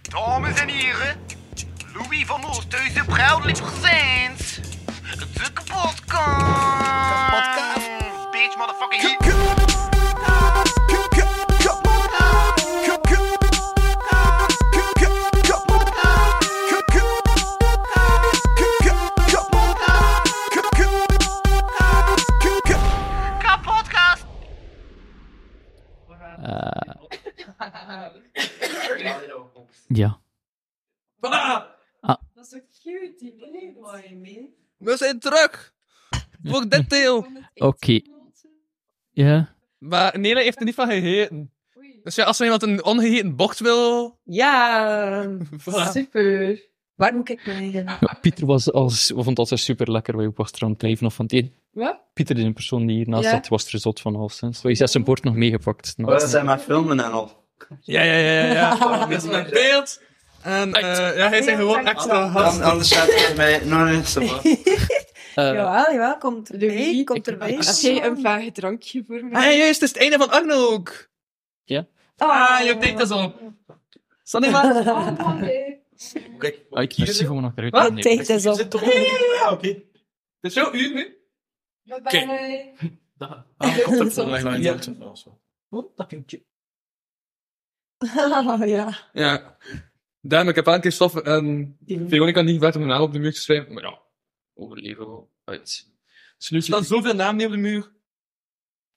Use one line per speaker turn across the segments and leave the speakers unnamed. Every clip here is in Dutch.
Dames en heren, Louis van Oosthuizen, proudly presents de kapotkast.
Kapotkast.
Bitch, motherfucking hit. Kapotkast.
Ja.
Dat is zo cute, die Playboy, man.
We zijn terug voor dit deel.
Oké. Ja.
Maar Eh, Nele heeft er niet van gegeten.
Oei.
Dus ja, als er iemand een ongegeten bocht wil...
Ja,
Voilà.
super. Waar moet ik mee gaan?
Ah, Pieter was als, we vond dat super lekker. Wij was er aan het blijven of van het een.
Wat?
Pieter, de persoon die hiernaast
Ja.
zat, was er zot van half sinds. Hij heeft zijn bord nog meegepakt. Nou,
Oh, dat zijn maar filmen en al.
Ja, ja, ja, ja. ja. Dit Oh, is mijn beeld. En eh, ja, hij zijn gewoon extra
Dan,
gast.
anders staat het bij... Nou, nee, is wel.
eh,
Jawel, jawel, komt erbij,
Louis,
komt erbij.
Heb jij een vage drankje voor
Ah,
mij?
ja, juist, het is het einde van Arno ook. Ah, je denkt dat zo. Sanne, maar...
ah, ik zie gewoon nog eruit.
Ah,
Wat?
Nee.
Tijd is op.
Het is zo uur nu.
Oké.
Ah,
Ja.
ja.
Ja. Daarom, ik heb aan Christophe en ehm, Veronica niet gevraagd om een naam op de muur te schrijven. Maar ja, overleven wel. Uit. Er staan zoveel namen niet op de muur.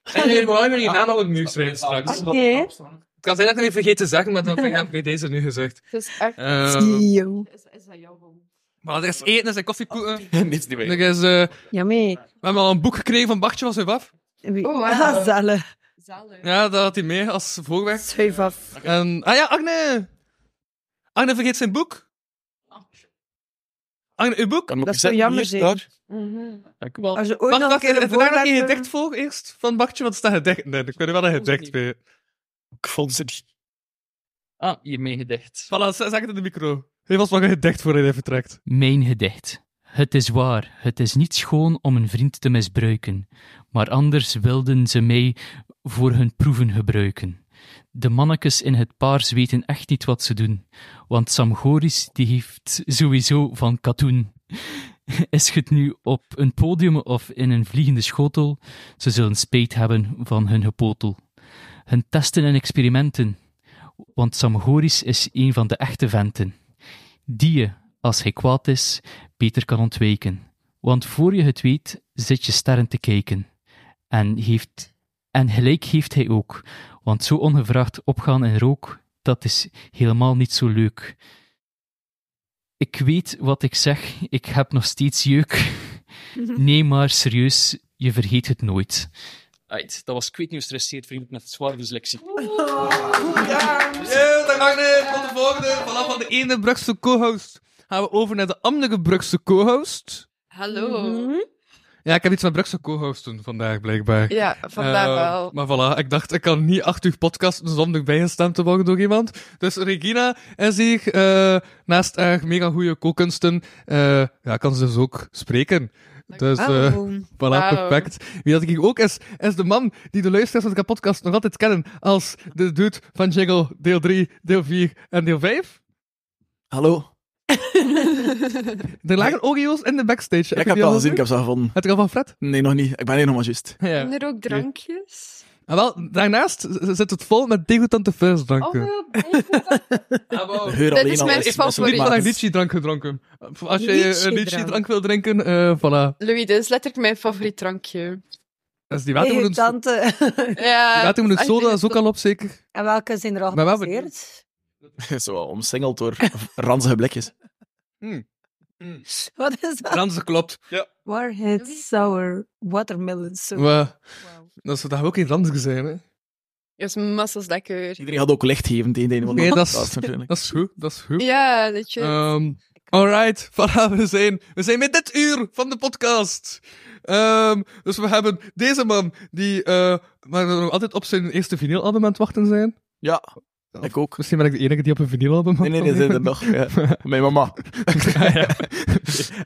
Ah. En je moet alleen je naam op de muur schrijven straks.
Oké.
Het kan zijn dat ik het niet vergeet te zeggen, maar dan heb ik deze nu gezegd.
Het is echt...
Ehm
Yo.
Is, is dat jouw man?
maar Ah, er is eten, er zijn koffiekoeken.
Niets niet
Er is, eh,
Jamie.
we hebben al een boek gekregen van Bartje van Zuivaf.
Wie-
Oh, wauw.
Ah, zalig.
Zalig.
Ja, dat had hij mee als voorwerp.
Schuif af.
En, ah ja, Agne! Agne vergeet zijn boek. Agne, uw boek?
Dat is zo jammer, zeker.
Mhm.
Dank u wel.
Als je ooit
Wacht,
nog een
wacht,
keer een
even daar nog een
voorwerp-
gedicht voor eerst van Bartje, want er staat gedicht in. Ik weet wel een gedicht bij.
Ik vond ze niet. Ah, hiermee gedicht.
Voilà, zeg zeg het in de micro. Hij was wel een gedicht voor hij vertrekt.
Mijn gedicht. Het is waar, het is niet schoon om een vriend te misbruiken, maar anders wilden ze mij voor hun proeven gebruiken. De mannekes in het paars weten echt niet wat ze doen, want Samgoris die heeft sowieso van katoen. Is het nu op een podium of in een vliegende schotel, ze zullen spijt hebben van hun gepotel. Hun testen en experimenten, want Samgoris is een van de echte venten die je, als hij kwaad is, beter kan ontwijken. Want voor je het weet, zit je sterren te kijken. En, heeft, en gelijk heeft hij ook, want zo ongevraagd opgaan in rook, dat is helemaal niet zo leuk. Ik weet wat ik zeg, ik heb nog steeds jeuk. Nee, maar serieus, je vergeet het nooit.
Uit, dat was kweetnieuws resteert, vriend, met zware dyslexie.
Yeah, dag Agne, tot de volgende. Vanaf van de ene Brugse co-host gaan we over naar de andere Brugse co-host.
Hallo.
Ja, ik heb iets met Brugse co-hosten vandaag, blijkbaar.
Ja, vandaag
Eh,
wel.
Maar voilà, ik dacht, ik kan niet acht uur podcasten zonder bijgestemd te worden door iemand. Dus Regina is hier, eh, naast haar mega goede kookkunsten, eh, ja, kan ze dus ook spreken. Dus, eh
Oh.
voilà,
Wauw.
perfect. Wie dat ik hier ook is, is de man die de luisteraars van de podcast nog altijd kennen als de dude van Jingle, deel 3, deel 4 en deel 5.
Hallo.
Er lagen Oreo's in de backstage.
Ja, ik heb het al gezien, ik heb ze gevonden.
Het al van Fred?
Nee, nog niet. Ik ben hier nog maar juist.
Ja.
Zijn er ook drankjes?
En Ah, wel, daarnaast z- zit het vol met degoutante
Oh,
frisdranken.
wel, blijkbaar.
De geur
Dit
alleen
Oh, is
al
mijn
is
favoriet.
Niet vandaag
mismakend.
lychee-drank gedronken. Als je een
Lychee-drank.
lychee-drank wil drinken, eh voilà.
Louis, dit is letterlijk mijn favoriet drankje.
Dat is die
Hey, uw
watermoedens. Die
tante.
Ja.
watermoedens
echt,
soda
eh, dit
is ook al op, zeker.
En welke zijn er al
Maar wat-
gebaseerd?
Zo wel omsingeld door ranzige blikjes.
Hmm.
Wat is dat?
Frans, klopt.
Warhead sour watermelon soup.
Maar
Wauw.
dat zou toch ook geen Frans zijn, hè?
Dat is massas lekker.
Iedereen had ook licht geven tegen de ene van de
Nee, dat is-
podcast natuurlijk.
Dat is goed, dat is goed.
Ja, dat je...
Ehm alright, voilà, we zijn, we zijn met dit uur van de podcast. Ehm, dus we hebben deze man, die eh, waar we nog altijd op zijn eerste vinylalbum aan het wachten zijn.
Ja, Ik ook.
Misschien ben ik de enige die op een vinylalbum
Nee, nee, nee, nee, nog. Ja. Mijn mama.
Ah, ja.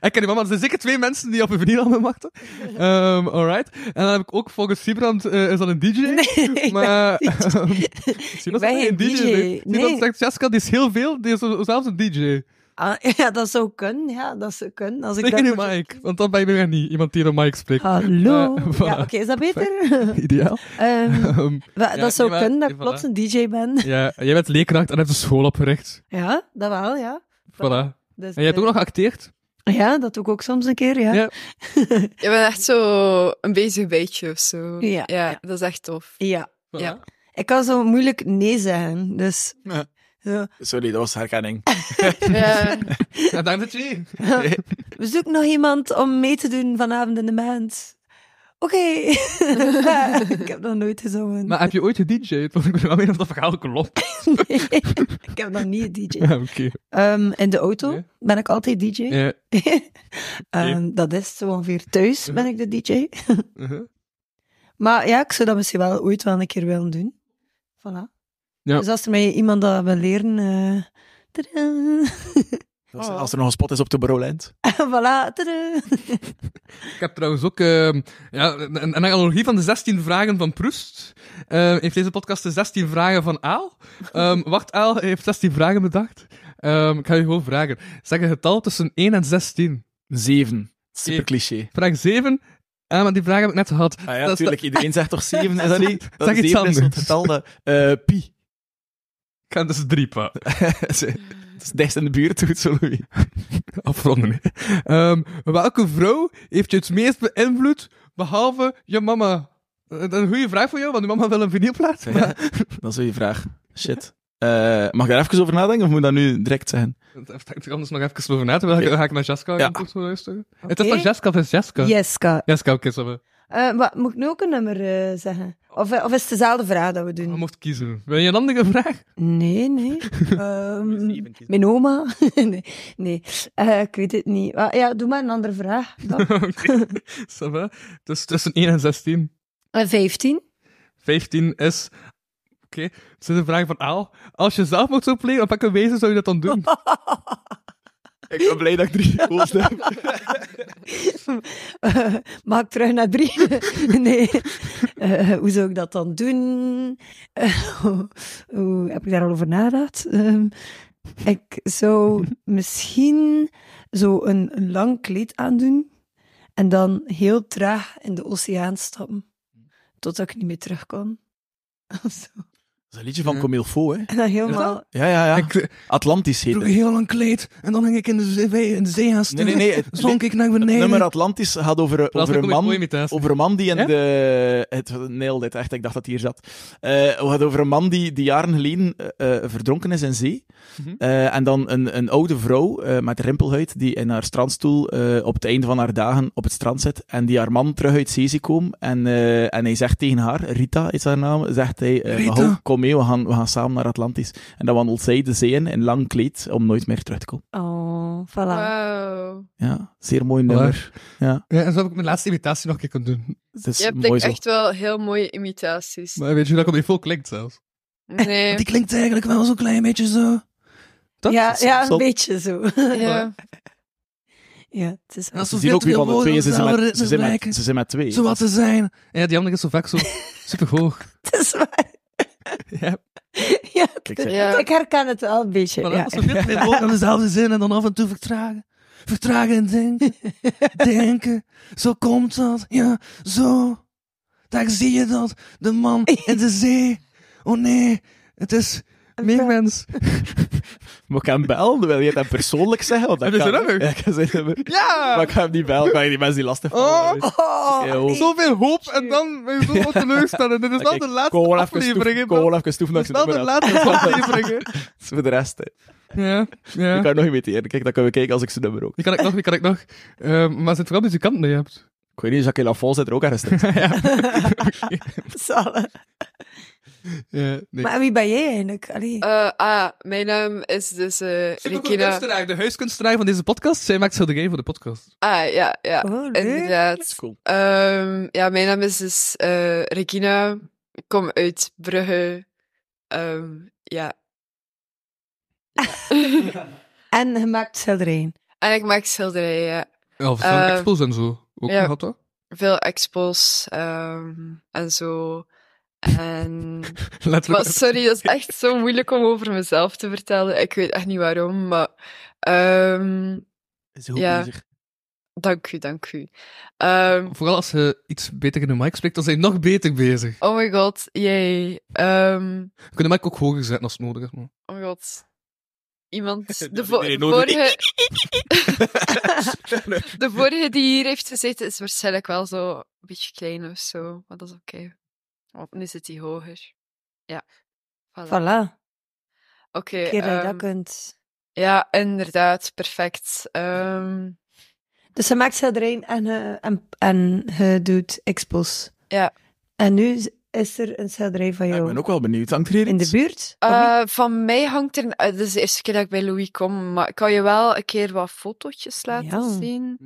ik ken die mama. Er zijn zeker twee mensen die op een vinylalbum wachten. Ehm alright. En dan heb ik ook volgens Sibrand, eh, is dat een DJ?
Nee,
maar... eh,
Ik ben geen DJ.
Sibrand
Nee.
zegt, Jessica, die is heel veel, die is zo- zelfs een DJ.
Ah, ja, dat zou kunnen. Ja, dat zou kunnen. Als ik
Zeker niet
dat...
Mike, want dan ben je weer niet iemand die door Mike spreekt.
Hallo.
Eh, voilà.
ja, oké, is dat beter?
Ideaal.
Ehm,
Ehm,
wa-
ja,
dat zou
nee, maar-
kunnen dat ik
voilà.
plots een DJ ben.
ja, jij bent leerkracht en hebt de school opgericht.
Ja, dat wel, ja.
Voilà.
Dus,
En je hebt ook nog geacteerd?
Ja, dat doe ik ook soms een keer, ja.
Ja.
Ja,
Je bent echt zo een bezig beetje of zo.
Ja, ja.
dat is echt tof. Ja.
Ik kan zo moeilijk nee zeggen, dus...
Ja.
Zo.
Sorry, dat was herkenning.
Ja,
Ja, dank dat je hier.
We zoeken nog iemand om mee te doen vanavond in de maand. Oké. Ja, ik heb nog nooit gezongen.
Maar heb je ooit gedj'd? Want ik ben wel meer of dat verhaal klopt.
Nee, ik heb nog niet DJ.
Ja, oké.
Ehm, in de auto
Ja.
ben ik altijd DJ.
Ja.
Ehm, dat is zo ongeveer thuis ben ik de DJ.
Uh-huh.
Maar ja, ik zou dat misschien wel ooit wel een keer willen doen. Voilà.
Ja.
Dus als er mij iemand dat wil leren... eh, tadaa.
Als,
Oh.
als er nog een spot is op de Broland.
voilà. tadaa.
Ik heb trouwens ook ehm, ja, een, een analogie van de 16 vragen van Proest. Ehm, heeft deze podcast de 16 vragen van Aal? Ehm wacht, Aal heeft 16 vragen bedacht. Ehm, ik ga je gewoon vragen. Zeg een getal tussen 1 en 16.
Zeven. Super cliché.
Vraag 7. Ah, maar die vraag heb ik net gehad.
Ah ja,
Dat is de-
natuurlijk. Iedereen zegt toch zeven, is dat niet? Dat
Zeg iets
zeven is zo'n
anders.
getal dat... eh, pi.
Ik ga dus drie pa.
Het is dichtst in de buurt, goed zo, Louis.
afronden. hè. Ehm, welke vrouw heeft je het meest beïnvloed, behalve je mama? Eh, Dat is een goede vraag voor jou, want je mama wil een vinylplaat.
Ja, dat is een goede vraag. Shit. Eh, mag ik daar even over nadenken, of moet ik dat nu direct zeggen?
Daar heb ik anders dus nog even over na te denken. Dan ga ik naar Jessica
Ja.
ja. luisteren. Het is van Jessica, het is Jessica.
Jeska.
Jessica, oké, zo we-
Eh, maar moet ik nu ook een nummer eh, zeggen? Of, eh, of is het dezelfde vraag dat
we
we doen?
mocht kiezen. Wil je een andere vraag?
Nee, nee. Ehm, mijn oma? nee. nee. Eh, ik weet het niet. Ah, ja, doe maar een andere vraag. dan.
Oké, ça va. Dus tussen 1 en 16.
Eh, 15?
15 is... Oké, het is een vraag van Aal. Als je zelf mocht zo plegen, op welke wezen zou je dat dan doen?
Ik ben blij dat ik drie goals heb.
Eh, Maak terug naar drie. nee. Eh, hoe zou ik dat dan doen? Eh, hoe- hoe, heb ik daar al over nagedacht? Ehm, ik zou misschien zo een, een lang kleed aandoen en dan heel traag in de oceaan stappen. Totdat ik niet meer terug kan. Of zo.
Dat is een liedje van Comilfo, hè?
En dan helemaal...
Ja, ja, ja.
Ik eh,
Atlantis heet
droeg
het.
heel lang kleed en dan ging ik in de zee, in de zee gaan
Nee, nee, nee. Het,
Zonk ik naar
het
beneden.
nummer Atlantis gaat over, eh,
Dat
over,
is
een,
een mooie
man,
imitatie.
over een man die in
Ja?
de... Het nailed dit echt, ik dacht dat hij hier zat. Eh, Het gaat over een man die, die jaren geleden eh, eh, verdronken is in zee.
Mhm.
Eh, en dan een, een oude vrouw eh, met rimpelhuid die in haar strandstoel eh, op het einde van haar dagen op het strand zit. En die haar man terug uit zee ziet komen. En, eh, en hij zegt tegen haar, Rita is haar naam, zegt hij... eh,
Rita.
"Ho, kom mee, we gaan, we gaan samen naar Atlantis. En dan wandelt zij de zee in, in lang kleed, om nooit meer terug te komen.
Oh, voilà.
wauw.
Ja, zeer mooi nummer.
Ja, en zo heb ik mijn laatste imitatie nog een keer kunnen doen.
Het is
Je hebt
mooi
denk
zo.
echt wel heel mooie imitaties.
Maar weet je hoe dat op die klinkt zelfs?
Nee,
Die klinkt eigenlijk wel zo'n klein beetje zo. Dat?
ja,
is-
ja, een
zal-
beetje zo.
ja.
ja, het is...
Dat is
Ze zien ook wie van de twee, ze zijn met, ze zijn met, ze zijn met twee.
Zo wat te zijn. Ja, die andere is zo vaak zo superhoog.
Het is waar.
Ja,
Ja,
Kijk,
het-
zeg.
Ja.
Ik herken het wel een beetje.
maar
ja.
als we dit weer ook aan dezelfde zin en dan af en toe vertragen. Vertragen en denken. Denken. Zo komt dat. Ja, zo. Daar zie je dat. De man in de zee. Oh nee. Het is meer mens.
Maar ik ga hem bellen, wil je het hem persoonlijk zeggen? Want dat
Heb je
kan,
zijn nummer?
Ja, ik ga zijn nummer. Maar
Ja!
ik ga hem niet bellen, ik ga die mensen die last hebben.
Oh.
Oh,
Eeuw.
nee.
Zoveel hoop en dan ben je zo wat teleurstellen. Dit is wel de laatste aflevering. hè, man.
Gewoon even stoeven
Dat
naar
is
zijn
wel de
nummer af.
laatste aflevering. hè.
Dat is Voor de rest, hè.
Ja,
Ik
ja.
kan er nog imiteren. Kijk, dan kunnen we kijken als ik zijn nummer ook.
Die kan ik nog, die kan ik nog. Ehm, maar zit vooral muzikanten die je hebt.
Ik weet niet, Jacques Lafon zit er ook ergens tussen.
Zalig.
Ja, eh, nee.
Maar wie ben jij eigenlijk? Allee.
Eh, ah, mijn naam is dus eh
Zit ook een
Rekina.
kunstenaar, de huiskunstenaar van deze podcast. Zij maakt schilderij voor de podcast.
Ah, ja, ja.
oh, leuk.
Inderdaad.
Cool.
Ehm, ja, mijn naam is dus eh Regina. Ik kom uit Brugge. Ehm, ja,
En je maakt schilderijen.
En ik maak schilderijen, ja.
Ja, of zo'n
Eh,
expos en zo. Ook
ja.
gehad, dat?
Veel expos ehm, en zo. En...
Letterlijk.
Maar sorry, dat is echt zo moeilijk om over mezelf te vertellen. Ik weet echt niet waarom, maar... ehm,
Is goed
Ja.
bezig.
dank u, dank u. Ehm,
Vooral als je iets beter in de mic spreekt, dan zijn je nog beter bezig.
oh my god, yay. Ehm,
We kunnen de mic ook hoger zetten als het nodig is. man.
oh my god. Iemand... De,
is
vo-
niet nodig.
vorige... de vorige die hier heeft gezeten is waarschijnlijk wel zo een beetje klein of zo. Maar dat is oké. Want nu zit hij hoger. Ja. Voilà.
Voilà.
Oké.
Keer dat je dat
ehm,
kunt.
Ja, inderdaad, perfect. Ehm,
Dus je maakt schilderijen en, je- en, en je doet expos.
Ja.
En nu is er een schilderij van
Ja, ik
jou
ben ook wel benieuwd. Hangt er hier
in de
iets?
buurt. of niet?
eh, van mij hangt er. eh, Dit is de eerste keer dat ik bij Louis kom, maar ik kan je wel een keer wat fotootjes laten
Ja.
zien.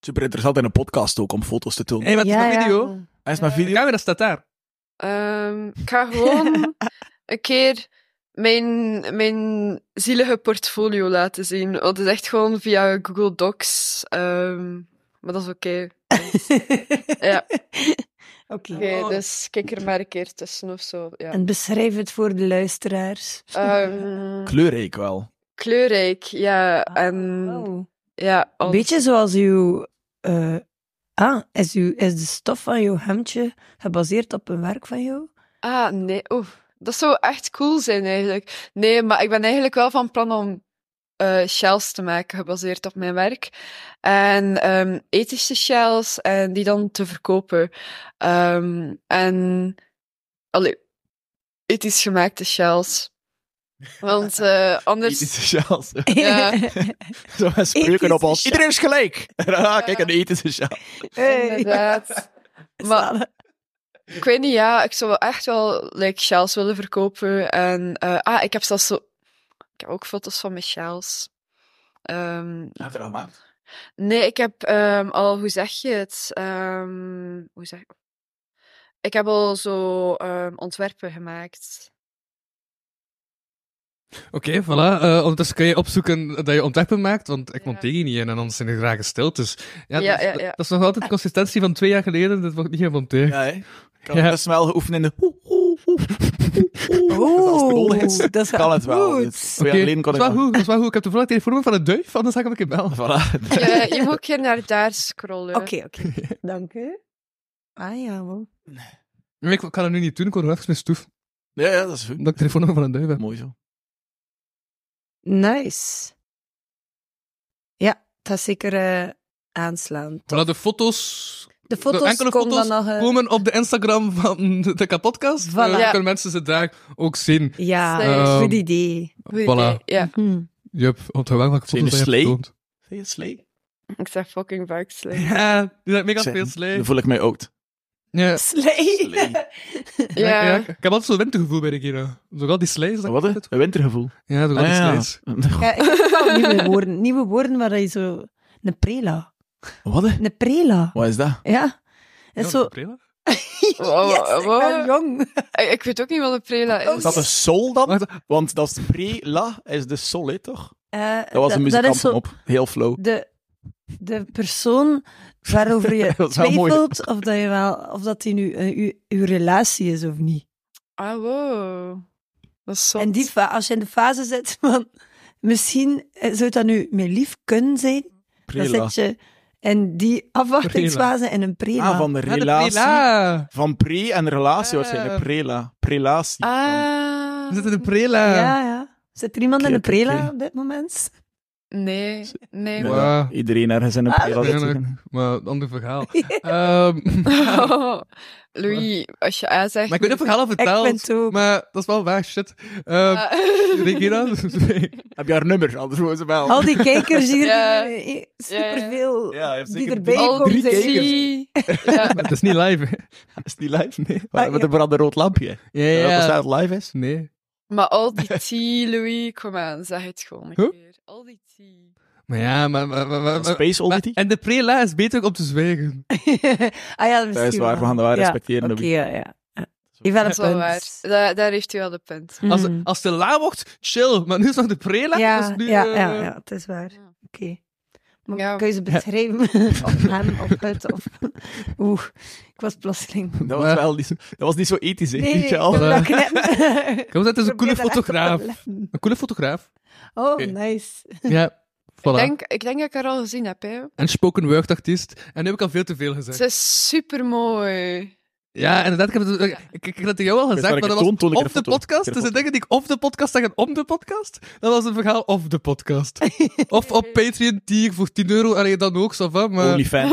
Super interessant in een podcast ook om foto's te tonen.
Hé, hey, maar het is
Ja,
mijn
ja.
video.
Hij is mijn
De
video.
camera staat daar.
Ehm, ik ga gewoon een keer mijn, mijn zielige portfolio laten zien. Want het is echt gewoon via Google Docs. ehm, maar dat is oké. Ja.
Oké.
Oké, dus kijk er maar een keer tussen of zo. Ja.
En beschrijf het voor de luisteraars.
Ehm,
Kleurrijk wel.
kleurrijk, ja.
Ah,
En
Wow.
ja,
Een
als-
beetje zoals uw. eh, ah, is, uw, is de stof van jouw hemdje gebaseerd op een werk van jou?
Ah, nee. Oeh, dat zou echt cool zijn eigenlijk. Nee, maar ik ben eigenlijk wel van plan om eh, shells te maken, gebaseerd op mijn werk. En ehm, ethische shells, en die dan te verkopen. Ehm, en, allee, ethisch gemaakte shells. Want eh, anders...
Ethische sjaals.
Ja.
Zo met spreuken op ons.
Ethische
Iedereen is gelijk. Ah, kijk, een ethische sjaal.
Hey.
Inderdaad. Maar
Zalig.
Ik weet niet, ja, ik zou wel echt wel like, shells willen verkopen. En, eh, ah, ik heb zelfs zo... Ik heb ook foto's van mijn shells. Ehm,
Heb je dat gemaakt?
nee, ik heb ehm, al... Hoe zeg je het? Ehm, hoe zeg Ik heb al zo ehm, ontwerpen gemaakt.
Oké, voilà. Eh, ondertussen kun je opzoeken dat je ontwerpen maakt, want ik
Ja.
monteer hier niet in en anders zijn er graag gesteld. Dus ja,
Ja,
dat, is-
ja, ja.
dat is nog altijd de consistentie van twee jaar geleden. Dit wordt niet gemonteerd.
Ja, hè? Ik had
Ja.
best wel geoefend in de... hoe, hoe, hoe, hoe, hoe. Dus als het nodig
Oeh,
is,
dat is
kan het wel. dus-
goed.
Dit-
Oké,
Twee jaar geleden kon
dat
ik...
is wel goed, dat is wel goed. Ik heb toevallig het telefoonnummer van een duif, anders ga ik hem een keer bellen.
Voilà.
Je, je moet een keer naar daar scrollen.
Oké, oké. Dank u. Ah ja, wel.
Maar Ik kan dat nu niet doen, ik word nog even mijn stoef.
Ja, ja, dat is goed.
Omdat ik het telefoonnummer van een duif heb.
Mooi zo.
Nice. Ja, dat is zeker eh, aanslaand.
Voilà, de foto's,
De
de
foto's
enkele
komen
foto's
dan nog... eh,
komen op de Instagram van de, de kapotkast.
Voilà.
Eh, dan
Ja.
kunnen mensen ze daar ook zien.
Ja,
Ehm,
goed idee.
Goed
Voilà.
idee, Ja,
Hm.
Jup, onthoud wel welke
Zijn
foto's dat je
er
hebt
slee?
getoond.
Vind je het slee?
ik zeg fucking vaak slecht.
Ja, die zijn mega
Zijn-
veel slee.
Dan voel ik mij oud.
Ja.
Slee.
Slee.
Ja.
Ja.
ik ik heb altijd zo'n wintergevoel bij de keren. Zoal die slijs.
Wat, hè? Een wintergevoel.
Ja, zoal die
Ah, ja.
slijs.
Ja, ik heb wel nieuwe woorden. Nieuwe woorden waar je zo... Een prela.
Wat, hè?
Een prela.
Wat is dat?
Ja. Dat is zo...
Wow,
Yes, ik ben
wow.
jong.
Ik, ik weet ook niet wat een prela is.
Is dat een sol dan?
Wacht,
Want dat is pre-la, is de sol, hè, toch?
Eh,
Dat was een muzikant
is zo
op. Heel flow.
de, de persoon waarover je
Dat is wel mooi.
twijfelt of dat, je wel, of dat die nu eh, uw- uw relatie is of niet.
Ah, wow. Dat is zot.
En die, fa- als je in de fase zit van... Misschien eh, zou dat nu mijn lief kunnen zijn. Dan
Pre-la.
zit je in die afwachtingsfase in een prela.
Ah, van de
ja, de
relatie.
prela. Ah.
Van pre en relatie
Ja.
waarschijnlijk. Prela. Prelatie.
Ah.
We zitten in de prela.
Ja, ja. Zit er iemand
eh, Oké,
in een
oké,
prela
oké.
op dit moment?
Nee, nee.
Ja,
Wow.
Iedereen ergens in een
Ah,
prela.
Ja,
zitten.
maar- Maar een ander verhaal. Ehm,
Louis, als je A zegt...
maar ik weet niet of ik het al verteld.
Ik vind het ook.
Maar dat is wel waar, shit. Ehm
Ah.
Regina,
Heb je haar nummer? Anders moeten ze wel.
Al die kijkers hier,
Ja.
eh, superveel
Ja, hij heeft
die
zeker
erbij
drie-
Al
komen.
drie
zijn.
Ja.
het is niet live, hè?
Is die live? Nee.
Ah,
Met een brandend rood lampje.
Ja,
Dat
ja.
staat live is.
Nee.
Maar al die T, Louis, kom aan, zeg het gewoon een
Huh?
keer. Al die T.
Maar ja, maar... maar, maar, maar-
Space
Eh, maar-
Oddity.
en de prela is beter om te zwijgen.
ah ja, misschien
Dat is waar,
wel.
we gaan dat wel
Ja,
respecteren.
Oké,
Louis.
ja, ja. Even
Dat is wel waar. Da- daar heeft u wel de punt.
Als,
Mhm.
als de la wordt, chill. Maar nu is nog de prela.
Ja,
dus nu,
ja,
eh,
ja, ja, het is waar. Oké. Maar
Ja.
Kun je ze beschrijven? of hem, of het, of... Oeh, ik was plotseling...
Dat was,
Ja.
wel niet zo, dat was niet zo ethisch, hè?
Nee, nee, ik wil
Michel?
dat knippen.
Ik wil zeggen, het is een coole
Probeer dat echt te
fotograaf.
overleven.
Een coole fotograaf.
Oh,
Oké.
nice.
Ja, voilà.
Ik, denk, ik denk dat ik haar al gezien heb. Hè.
En spoken word artiest. En nu heb ik al veel te veel gezegd.
Ze is super mooi.
Ja, inderdaad. Ik heb het, ik, ik, ik had het jou al gezegd,
waar
maar
ik
dat
het
was
toon toen ik
op
er
de
foto-
podcast.
er
Dus de
foto-
dingen die ik op de podcast zeg en om de podcast, dat was een verhaal of de podcast. of op Patreon tier voor 10 euro. Allee, dan ook, ça va, maar...
Onlyfans.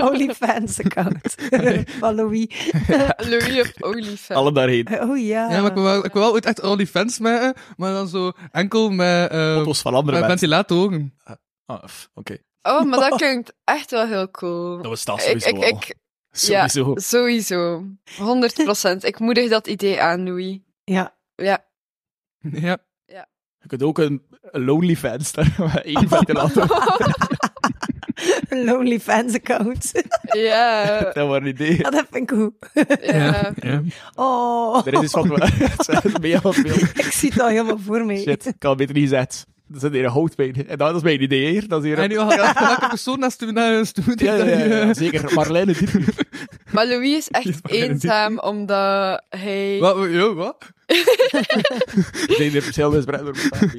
OnlyFans account. Van Louis.
Louis op OnlyFans.
Allem daarheen.
Oh ja.
Ja, maar ik wil wel, ik wil wel ooit echt OnlyFans maken, maar dan zo enkel met, eh
Foto's van andere
met
mensen.
ventilatoren.
Ah, pff, Oké,
Oh, maar dat klinkt echt wel heel cool.
dat was dat
ik,
sowieso
ik,
wel.
ik, ja,
Sowieso.
sowieso. 100%. Ik moedig dat idee aan, Louis.
Ja.
Ja.
Ja.
Je kunt ook een een Lonelyfans daar maar één ventilator.
Een OnlyFans account.
Ja.
Dat was een idee.
dat vind ik goed.
ja.
ja.
Oh,
Er is iets van... Het zijn meer van veel.
ik zie het al helemaal voor me.
Shit, ik kan het beter niet gezegd. Dat zit hier een houtbeen. En dat is mijn idee hier. Dat is hier
En
een...
nu had ik elke persoon naast u naar een studie.
Ja, ja, ja, ja, zeker. Marlijne Dieter.
Maar Louis is
Is
echt
maar geen
eenzaam omdat hij.
Wat, yo, wat?
Zijn er verschillende spreiden door elkaar.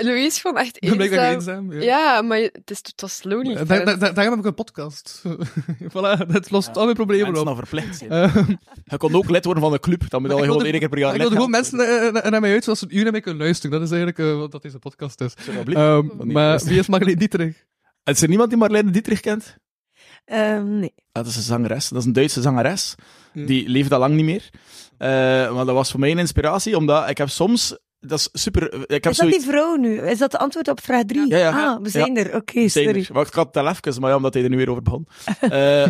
Louis is gewoon echt
Dan ben
eenzaam.
ik daar eenzaam. Ja.
Ja, maar je- het is het was Lonely.
Da- da- da- Eh, daarom heb ik een podcast. voilà, dat lost al mijn problemen
Mensen
op.
dan verplicht zijn.
Ehm,
Je kon ook lid worden van een club. Dan moet je
Maar
al
ik wilde-
gewoon één keer per jaar
ik
lid
wil gewoon
gaan.
mensen eh, na- naar mij uit zodat ze een uur naar mij kunnen luisteren. Dat is eigenlijk eh, wat dat deze podcast is.
Zo, dat blijft.
Ehm,
Oh, nee,
maar
luister.
wie is Marleen Dietrich?
Is er niemand die Marlijne Dietrich kent?
Ehm, nee.
Ah, Dat is een zangeres. Dat is een Duitse zangeres.
Hmm.
Ja.
Die leeft al lang niet meer. Eh, maar dat was voor mij een inspiratie, omdat ik heb soms... Dat is super... Ik heb
Is dat
zoiets...
die vrouw nu? Is dat de antwoord op vraag 3?
Ja, ja.
Ah, we zijn er. Oké,
Zijn er.
sorry.
Wacht, ik had het al even, maar ja, omdat hij er nu weer over begon. Eh,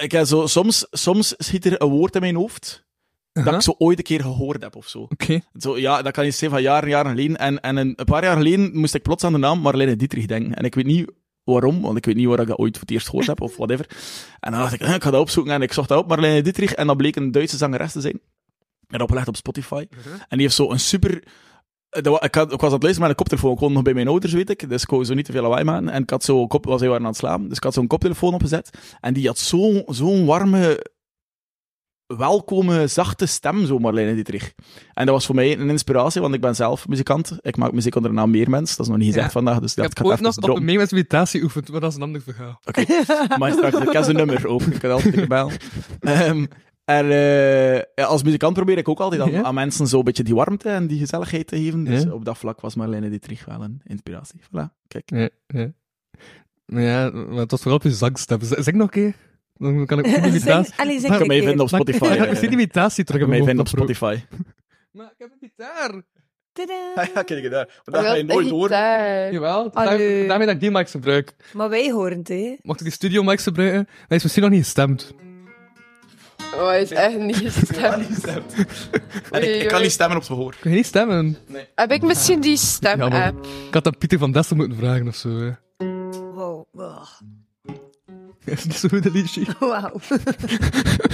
ik heb zo, soms, soms schiet er een woord in mijn hoofd dat ik zo ooit een keer gehoord heb of zo.
Oké.
zo ja, dat kan iets zijn van jaren, jaren geleden. En, en een, een paar jaar geleden moest ik plots aan de naam Marlene Dietrich denken. En ik weet niet waarom, want ik weet niet waar ik dat ooit voor het eerst gehoord heb of whatever. En dan dacht ik, eh, ik ga dat opzoeken. En ik zocht dat op, Marlene Dietrich. En dat bleek een Duitse zangeres te zijn. En opgelegd op Spotify. En die heeft zo een super... eh, dat wa- Ik, had, ik was aan het luisteren met een koptelefoon. Ik woonde nog bij mijn ouders, weet ik. Dus ik kon zo niet te veel lawaai maken. En ik had zo... Kop, was heel waren aan het slapen. Dus ik had zo'n koptelefoon opgezet. En die had zo'n zo'n warme... Welkome, zachte stem, zo Marlene Dietrich. En dat was voor mij een inspiratie, want ik ben zelf muzikant. Ik maak muziek onder de naam Meermens. Dat is nog niet gezegd
Ja.
vandaag, dus
Ik
dat
heb
gaat
ooit
even
nog op
droppen.
een met meditatie oefend, maar dat is een ander verhaal.
Oké, maar straks, ik heb zijn nummer open, ik kan altijd een keer bellen. Ehm, en eh, ja, als muzikant probeer ik ook altijd aan,
Ja.
aan mensen zo'n beetje die warmte en die gezelligheid te geven. Dus
Ja.
op dat vlak was Marlene Dietrich wel een inspiratie. Voilà, kijk.
Ja, ja. Maar ja, maar het was vooral op je zangstem. Z- Zeg nog een keer. Dan kan ik ook een imitatie...
Zing- Allee, zeg
Maar-
Je kan mij vinden op
Ik
Spotify.
ga
eh.
ik zie die imitatie terug
Je kan
in
mij
mijn
vinden op
hoofd oproepen.
Spotify.
Maar ik heb een gitaar.
Ah, Ja, kijk daar. Maar dat
Wel
ga je nooit
een
horen.
gitaar.
Jawel,
Ah,
Allee.
daarmee, daarmee dat ik die mics gebruik.
Maar wij horen het, hè.
Mocht ik die studio mics gebruiken? Hij is misschien nog niet gestemd.
Oh, hij is echt niet gestemd.
eh,
En ik, ik kan niet stemmen op zijn gehoor.
Kun je niet stemmen?
Heb ik misschien die stem
Jammer.
app?
Ik had dat Pieter van Dessen moeten vragen of zo. hè.
Wow. Wow.
Is dat zo goed, dat liedje?
Wauw.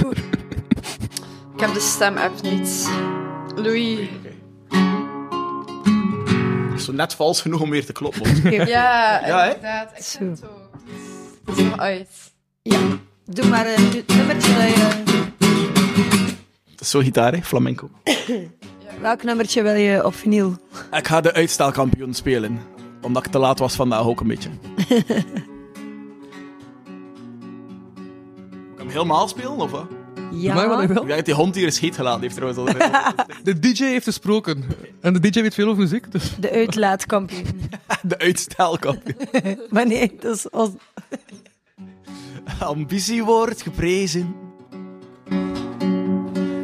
Ik heb de stem app niet. Louis.
Dat is Zo net vals genoeg om weer te kloppen.
Ja,
Ja, hè?
inderdaad. Ik
Zo.
vind het ook. Het is nog uit.
Doe maar eh, doe- nummertje dat je...
Dat is Zo'n gitaar, hè? flamenco.
Welk nummertje wil je op vinyl?
Ik ga de uitstelkampioen spelen. Omdat ik te laat was vandaag ook een beetje. Moet ik hem helemaal spelen, of wat?
Ja.
Maar wat ik
Ik
wil.
denk dat die hond hier is heet gelaten heeft trouwens. al.
De DJ heeft gesproken. En de DJ weet veel over muziek, dus...
De uitlaatkampioen.
De uitstelkampioen.
Maar nee, dat is ons...
Ambitie wordt geprezen.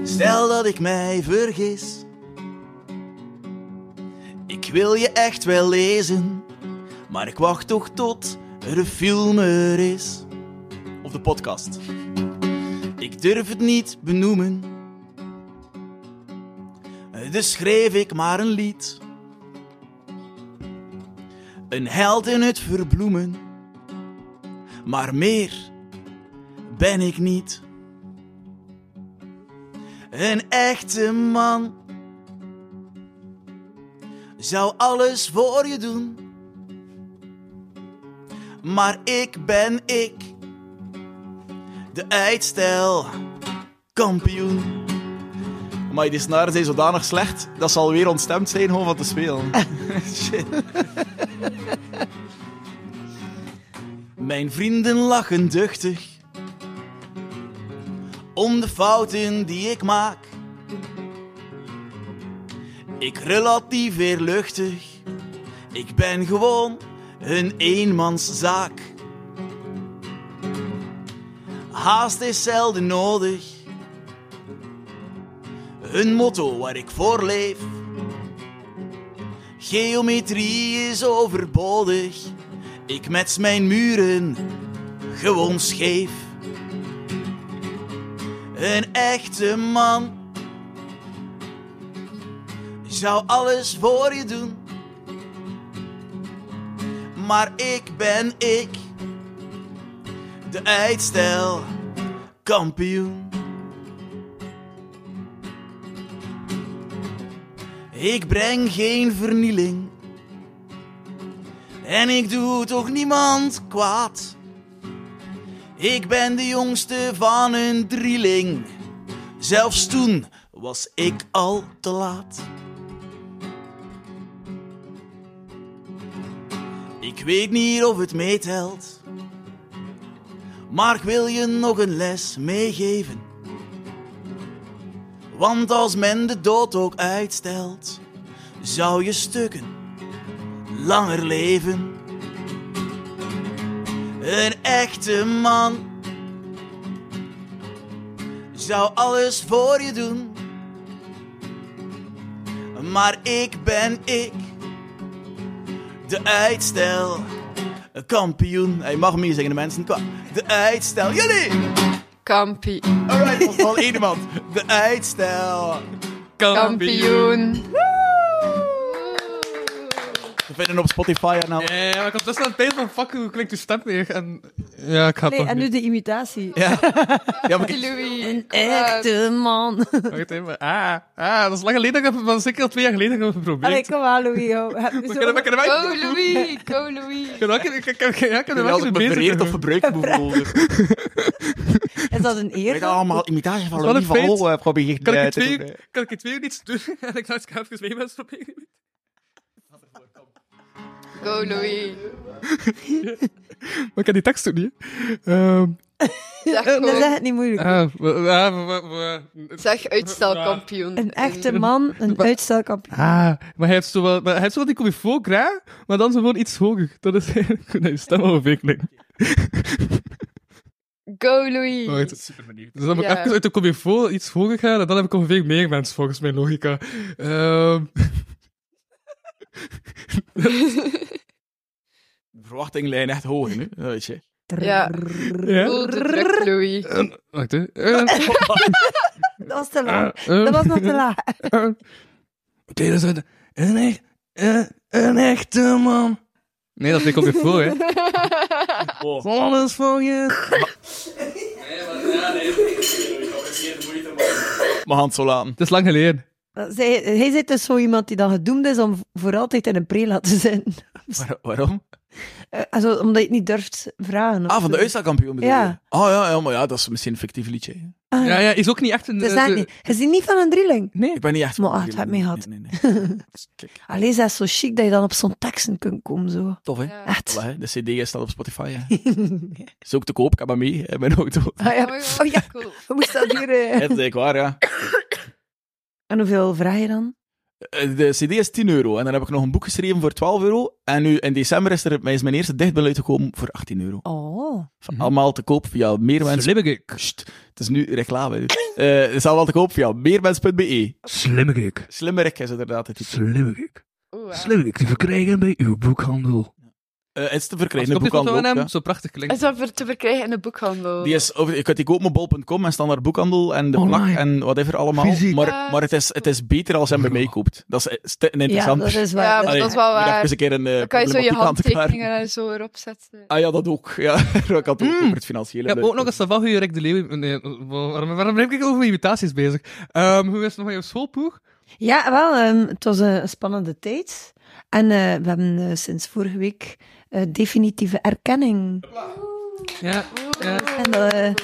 Stel dat ik mij vergis. Ik wil je echt wel lezen. Maar ik wacht toch tot er een film er is. Of de podcast. Ik durf het niet benoemen. Dus schreef ik maar een lied. Een held in het verbloemen. Maar meer ben ik niet.
Een echte man zou alles voor je doen. Maar ik ben ik, de uitstel kampioen.
Maar die snaren zijn zodanig slecht dat ze alweer ontstemd zijn gewoon van te spelen. Shit.
Mijn vrienden lachen duchtig om de fouten die ik maak. Ik relativeer luchtig, ik ben gewoon een eenmanszaak. Haast is zelden nodig, een motto waar ik voor leef. Geometrie is overbodig, ik mets mijn muren gewoon scheef. Een echte man zou alles voor je doen. Maar ik ben ik, de uitstel kampioen. Ik breng geen vernieling. En ik doe toch niemand kwaad. Ik ben de jongste van een drieling. Zelfs toen was ik al te laat. Ik weet niet of het meetelt. Maar ik wil je nog een les meegeven. Want als men de dood ook uitstelt, zou je stukken langer leven. Een echte man zou alles voor je doen. Maar ik ben ik, de uitstel kampioen.
Hij mag meer zeggen, de mensen. Kom,
De uitstel, jullie!
Kampie.
Alright, ons wel één iemand. De uitstel
Kampioen.
Te vinden op Spotify en
nou-
al.
Ja, maar ik had best aan het denken van fuck, hoe klinkt uw stem weer? En ja, ik ga het
Nee,
toch
en nu
niet.
de imitatie.
Ja.
Ja, maar ik...
Louis.
Een echte
Eh,
man.
Wacht even. Ah, ah, dat is lang geleden dat ik heb, maar zeker al twee jaar geleden dat ik heb geprobeerd.
Allee, kom aan, Louis. ho. Heb je
We
zo-
kunnen- we kunnen wij-
Go Louis, go Louis.
Ik heb wel- ik- ik- ik- ik- ja, ik heb er wel
Als
keer
ik me
bezig
vereerd of
geweest.
verbruikt voel. Ik
Is dat een eer?
weet
dan?
allemaal imitatie van
Dat is wel
Louis
een
van
feit.
Lol heb geprobeerd.
Kan ik
eh,
het
te
twee
doen, eh.
uur- kan ik het twee uur niets doen? En ik dacht, ik ga even twee mensen proberen.
Go Louis.
Maar ik heb die tekst ook niet. Ehm
Zeg,
Dat is
gewoon,
echt niet moeilijk.
ah, we- we- we- we-
zeg uitstelkampioen.
Een echte man, een uitstelkampioen.
Ah, maar hij heeft zo wel, maar hij heeft zo wel die comme faux gras, maar dan zo gewoon iets hoger. Dat is eigenlijk hoe je stem ongeveer klinkt.
Go Louis.
Oh, het is super benieuwd. Dus dan moet ik
Ja.
even uit de comme faux iets hoger gaan, en dan heb ik ongeveer meer mensen volgens mijn logica. Ehm
De verwachting lijn echt hoog nu. Dat weet je.
Ja.
ja.
Voel de druk, Louis.
En- wacht, hè. Eh,
Dat was te
eh,
laag.
eh.
Dat was nog te laag.
Eh. Oké, dat is een, een, echt- een, een echte man. Nee, dat vind ik ook weer voor, hè. Oh. Alles voor je.
Mijn hand zo laten.
Het is lang geleden.
Zij, hij zit dus zo iemand die dan gedoemd is om voor altijd in een prela te zijn.
Waar- waarom?
Eh, also, omdat je het niet durft vragen. of
Ah, van de
zo.
uitstelkampioen bedoel je?
Ja.
Oh ja, ja, maar ja, dat is misschien een fictief liedje. hè.
Ah,
Ja, ja, is ook niet echt een...
Het is
eh,
echt
de-
niet. Je ziet niet van een drieling.
Ik ben niet echt...
Maar ah, het had mij gehad.
Nee, nee, nee. Dus Kijk,
Allee, dat is zo chic dat je dan op zo'n teksten kunt komen. Zo.
tof hè?
Ja.
Echt.
Voilà, hè. De CD is staat op Spotify. Hè. Is ook te koop, ik heb hem mee in mijn auto.
Ah, ja.
Oh, ja.
Oh ja,
cool.
hoe moest dat hier? eh?
Dat is eigenlijk waar, ja.
En hoeveel vraag je dan?
Eh, De CD is 10 euro en dan heb ik nog een boek geschreven voor 12 euro. En nu in december is, er, is mijn eerste dichtbundel uitgekomen voor 18 euro.
Oh.
Van Allemaal te koop via meermens.
Slimmigik.
Sst, het is nu reclame. hè. Eh, het is allemaal te koop via meermens.be.
Slimmigik.
Slimmerik is inderdaad het titel.
Slimmigik.
Oeh, wauw.
Slimmigik te verkrijgen bij uw boekhandel.
Eh, het is te
Als
verkrijgen
je
in de
op dit foto
boekhandel.
van
ook,
hem,
ja.
zo prachtig
Is
klinkt.
dat voor te verkrijgen in de boekhandel?
Die is eh, over, je kunt die kopen op bol.com en standaard boekhandel en de plak en whatever allemaal.
Fysiek.
Maar, maar het, is, het is beter als hem bij mij koopt. Dat is st- een interessant.
dat is waar. Ja, dat is wel
Ik
waar.
eens een keer een eh,
Dan kan je zo je
problematiek aan te klaren.
handtekeningen en zo erop zetten.
Ah ja, dat ook. Ja, ik had het ook over het financiële.
Mm. Ik heb ook nog eens van hoe Rick de Leeuw... Nee, waarom, waarom ben ik over mijn imitaties bezig? Ehm, hoe is het nog met je schoolploeg?
Ja, wel, ehm, het was een een spannende tijd. En eh, we hebben eh, sinds vorige week eh, definitieve erkenning.
Ja, ja.
En eh,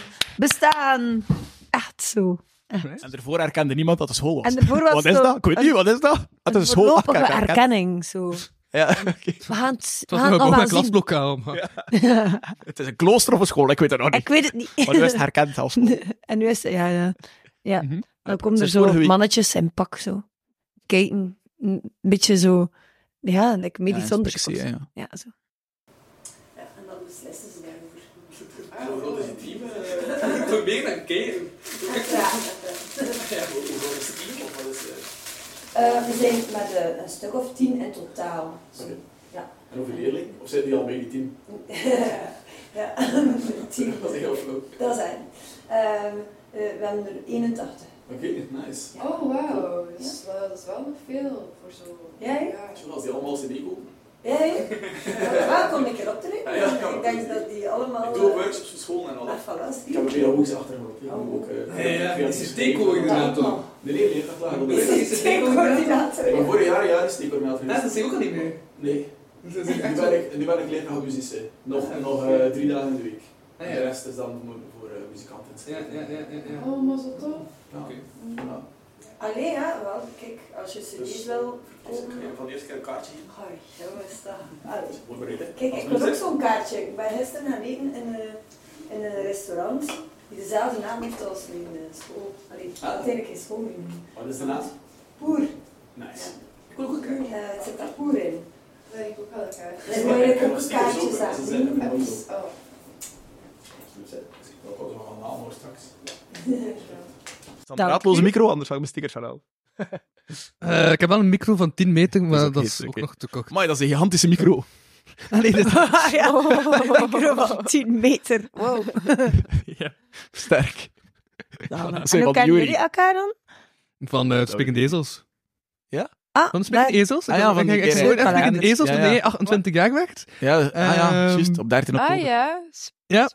bestaan. Echt zo.
En daarvoor herkende niemand dat het school was.
En daarvoor was
wat is
zo
dat? Ik weet
een-
niet, wat is dat? Het is een school.
Voorlopige
Ah, kijk, herkend.
erkenning, zo.
Ja.
We gaan het, we
Het was
Ah,
gaan het nog
nog een
wel zien.
klasblokkaal. maar-
Het is een klooster of een school, ik weet het nog niet.
Ik weet het niet.
Maar nu is het herkend als school.
En nu is het, ja, ja. ja. Dan komen er
Mhm. Sinds
zo
vorige week.
mannetjes in pak, zo. Kijken. Een beetje zo, ja, like medisch
Ja,
onderzoek
inspectie,
of zo.
ja,
Ja, zo. dus
Voor meer dan keren.
eh?
Eh, we zijn met een stuk of tien in totaal. Ja.
En hoeveel leerlingen? Of zijn die al bij die team?
ja,
Dat is heel flauw.
Dat zijn. eh, we hebben er 81.
Oké, nice.
Oh, wauw. Dat, is wel- dat is wel nog veel voor zo.
Ja, hè?
Als die allemaal CD kopen.
Jij? Waar kom ik erop terug?
Ah, Ja, ja.
Ik denk dat die allemaal. eh,
Ik doe workshops op school en al.
Ah, voilà, zie.
Ik heb er weer hoeks achtergrond. Ik eh, moet ook...
Ja, ja, die is steekcoördinator.
toch? Nee, nee, nee, dat lagen we
Is die steekcoördinator?
Ja, Maar vorig jaar, ja, is steekcoördinator.
Dat is die ook al niet meer.
Nee. Nu
is echt zo.
ben ik, nu ben ik leraar van muzici. Nog,
Ja. Ah,
nog eh, drie dagen in de week.
Ja,
En
ja.
de rest is dan voor, voor eh, muzikanten.
Ja, ja, ja, ja, ja.
Oh, maar zo tof.
Ja. Ja.
Allee, ja, wel, kijk, als je
Dus
CD's wil verkopen.
Van de eerste keer een kaartje hier.
Hoi, jongens, is dat? Allee.
Voorbereid, hè.
Kijk,
Als
ik wil ook
muziek.
zo'n kaartje. Ik ben gisteren gaan eten in een, in een restaurant die dezelfde naam heeft als mijn eh, school. Allee,
Ah.
uiteindelijk geen school meer.
Wat is de naam?
Poer.
Nice.
Ik wil ook een kaartje. Ja, het zit daar poer in.
Dat ik ook wel elkaar.
Dus moet je ook een
Stickers ook,
kaartje
hè, ze zijn er
aan
gewoon zo.
Oh,
Dat komt nog een naam hoor straks.
Dank
draadloze micro, anders zou ik mijn stickers gaan halen.
Eh, ik heb wel een micro van 10 meter, maar
is
dat
ook
is ook,
heet, oké.
nog te kort.
Maar dat is een gigantische micro.
Allee, dit
ja, micro van 10 meter. Wow.
Sterk.
Dan,
Voilà.
en hoe kennen jullie elkaar dan?
Van eh Spikkende Ezels.
Ja?
Ah,
van de Spikkende Ezels?
Ah ja, van
ik,
die
ik, ik
keer,
zag ooit
hè.
echt Spikkende
Kalenders,
Ezels
ja,
toen hij
ja.
28 jaar werd.
Ja, ah ja,
Ehm,
juist. Op 13 oktober.
Ah ja. s-
Ja,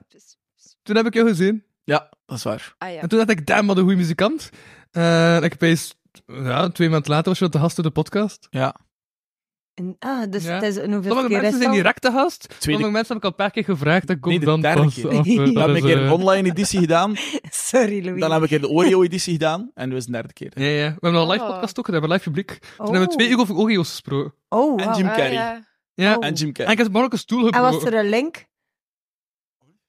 toen heb ik jou gezien.
Ja, dat is waar.
Ah ja.
En toen dacht ik, damn, wat een goede muzikant. Eh, en ik heb eens, ja, twee maanden later was je wel te gast op de podcast.
Ja.
En, ah, dus
Ja.
het is een hoeveel
Sommige mensen zijn direct te gast. Sommige mensen heb ik al een paar keer gevraagd, dat komt
Nee, de
dan
derde
pas.
keer.
af, eh,
Dan
dat
heb ik
is,
een keer een
eh,
online editie gedaan.
Sorry, Louis.
Dan heb ik een keer de Oreo-editie gedaan. En dat is de derde keer.
Ja, ja. We hebben al een live
Oh.
podcast ook gedaan, we hebben live publiek. Toen
Oh.
hebben we twee uur over Oreo's gesproken.
Oh,
En
wauw.
Jim
Ah,
Carrey.
ja.
Ja.
Oh.
En Jim Carrey.
En Ah, ik heb behoorlijk een stoel
En was
gebroken.
er een link?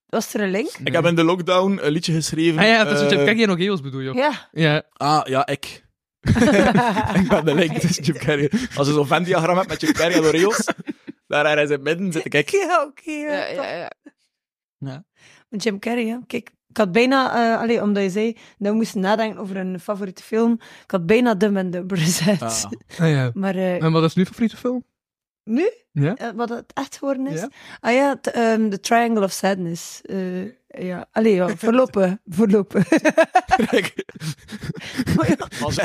Was er een link?
Ik heb in de lockdown een liedje geschreven.
Ah ja, dat is wat je-
eh,
kijk jij nog Eos bedoel je?
Ja.
Ja.
Ah, ja, ik. ik ben de link tussen Jim Carrey. Als je zo'n Venn-diagram hebt met Jim Carrey en Oreos, daar ergens in het midden zit ik. ik.
Ja, oké.
Ja,
ja,
ja, ja.
Met Jim Carrey, ja. Kijk, ik had bijna, eh allee, omdat je zei dat we moesten nadenken over een favoriete film, ik had bijna Dumb and Dumber gezet.
Ah.
Ah, ja.
Maar eh,
En wat is nu je favoriete film?
nu,
Ja.
eh, wat het echt geworden is?
Ja.
Ah ja, t- ehm, The Triangle of Sadness. Eh, ja, allee, ja, voorlopen, voorlopen. Maar ja,
Als,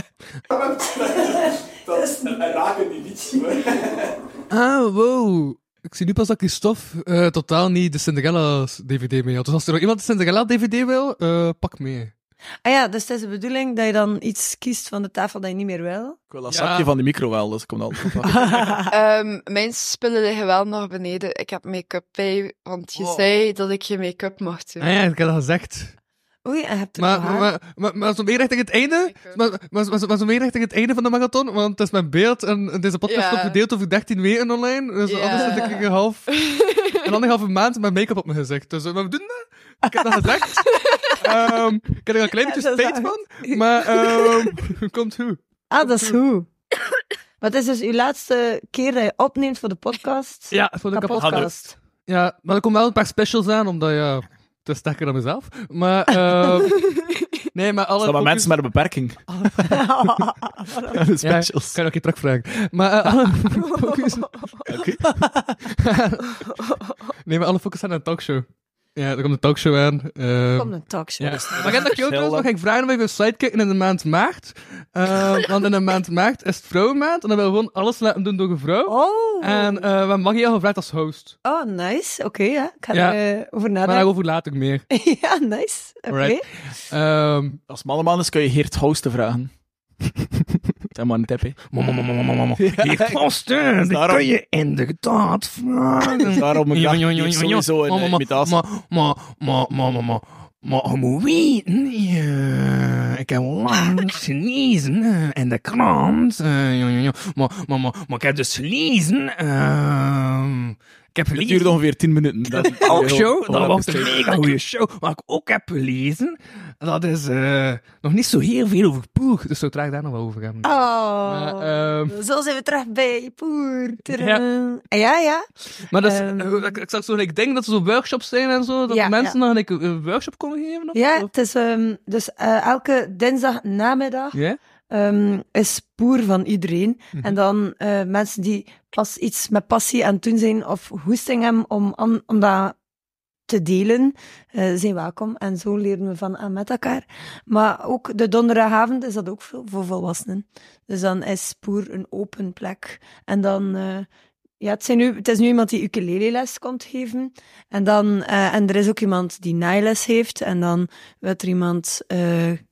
Ah, wow. Ik zie nu pas dat Christophe eh, totaal niet de Cinderella's DVD mee had. Dus als er nog iemand de Cinderella-DVD wil, eh, pak mee.
ah ja, dus het is de bedoeling dat je dan iets kiest van de tafel dat je niet meer wil.
ik wil dat
Ja.
zakje van de micro wel, dus ik kom dan.
Ehm, mijn spullen liggen wel nog beneden. Ik heb make-up bij, want je
Wow.
zei dat ik je make-up mocht doen.
Ah ja, ik heb dat gezegd.
Oei, en je hebt er
Maar,
nog haar.
maar, maar, maar, maar zo meer richting het einde, maar, maar, maar, maar zo meer richting het einde van de marathon, want het is mijn beeld en deze podcast
Ja.
wordt verdeeld over 13 weken online, dus
Ja.
anders zit ik een half, een anderhalve maand met make-up op mijn gezicht. Dus eh, maar we doen dat. Ik heb dat gezegd. Ehm, ik heb er een klein
Ja,
beetje
dat is
spijt
waar.
van, maar ehm, komt hoe.
Ah, dat is hoe. Wat is dus uw laatste keer dat je opneemt voor de podcast?
Ja, voor de kapot.
podcast.
Ja, maar er komen wel een paar specials aan, omdat ja, het is sterker dan mezelf. Maar, ehm, Nee, maar alle
Stel maar
focus-
mensen met een beperking. de specials.
Ja, kan ik je terugvragen. Maar eh, alle focus... nee, maar alle focus staat aan een talkshow. Ja, er komt een talkshow aan. Er
Komt een talkshow.
Ja.
Dat is-
Maar ik heb dat je ook trouwens nog ga ik vragen of ik een slide kijken in de maand maart. Eh, want in de maand maart is het vrouwenmaand. En dan wil we gewoon alles laten doen door een vrouw.
Oh.
En eh, we mag je al gevraagd als host.
Oh, nice. Oké, ja. Ik ga
Ja.
erover
Maar
nadenken.
daarover later meer.
ja, nice. Oké.
Alright. Ehm,
Als malle man is, kun je Geert Hosten vragen. Zeg maar een tip, hè.
Geert Hosten, die kun je
inderdaad
vragen.
Daarom ik
Ja,
dacht,
ja, ja,
die heeft
ja, ja.
sowieso een
Maar,
eh,
maar,
imitatie.
maar, maar, maar, maar, maar, maar, maar je moet weten, eh, ik heb onlangs gelezen eh, in de krant, eh, ja, ja, ja. Maar, maar, maar, maar ik heb dus gelezen, ehm, ik heb
Het
gelezen...
duurde ongeveer 10 minuten. Dat
Een talkshow, dat was een
beschreven.
mega goede show. Wat ik ook heb gelezen, dat is eh, nog niet zo heel veel over Poeg, dus zo traag daar nog wel over gaan.
Oh.
Maar, ehm,
Zo zijn we terug bij Poer.
Ja.
Ja, ja. ja.
Maar dat is, eh, ik, ik zag zo, ik denk dat er zo workshops zijn en zo, dat
Ehm. Ja,
mensen
ja.
dan like, een workshop komen geven. Of?
Ja, het is ehm, dus eh, elke dinsdag namiddag
Ja?
ehm, is poer van iedereen. En dan eh, mensen die pas iets met passie aan het doen zijn of hoesting hebben om, an- om dat te delen, eh, zijn welkom. En zo leren we van en met elkaar. Maar ook de donderdagavond is dat ook veel voor volwassenen. Dus dan is poer een open plek. En dan... eh, ja, het, zijn nu, het is nu iemand die ukuleleles komt geven. En, dan, eh, en er is ook iemand die naailes heeft. En dan wil er iemand eh,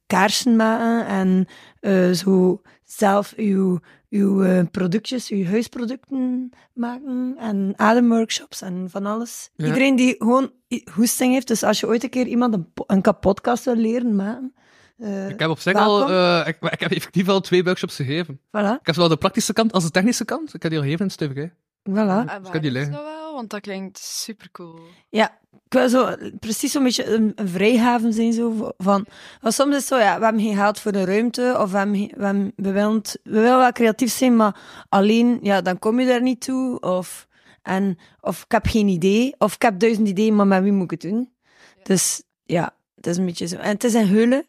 kaarsen maken. En eh, zo zelf uw, uw eh, productjes, uw huisproducten maken. En ademworkshops en van alles.
Ja.
Iedereen die gewoon i- hoesting heeft. Dus als je ooit een keer iemand een, po- een kapotkast wil leren maken. eh,
Ik heb op zich al,
welkom.
eh, ik, maar ik heb effectief al twee workshops gegeven.
Voilà.
Ik heb zowel de praktische kant als de technische kant. Ik heb die al gegeven in het STVG.
Voilà.
Dus ik heb die liggen.
wel, want Ah, dat klinkt supercool.
Ja, ik wil zo precies zo'n beetje een, een vrijhaven zijn. Zo van, want soms is het zo, ja, we hebben geen geld voor de ruimte. Of we, hebben, geen- we, hebben- we, willen, het- we willen wel creatief zijn, maar alleen, ja, dan kom je daar niet toe. Of, en, of ik heb geen idee. Of ik heb duizend ideeën, maar met wie moet ik het doen? Dus ja, het is een beetje zo. En het is een heulen.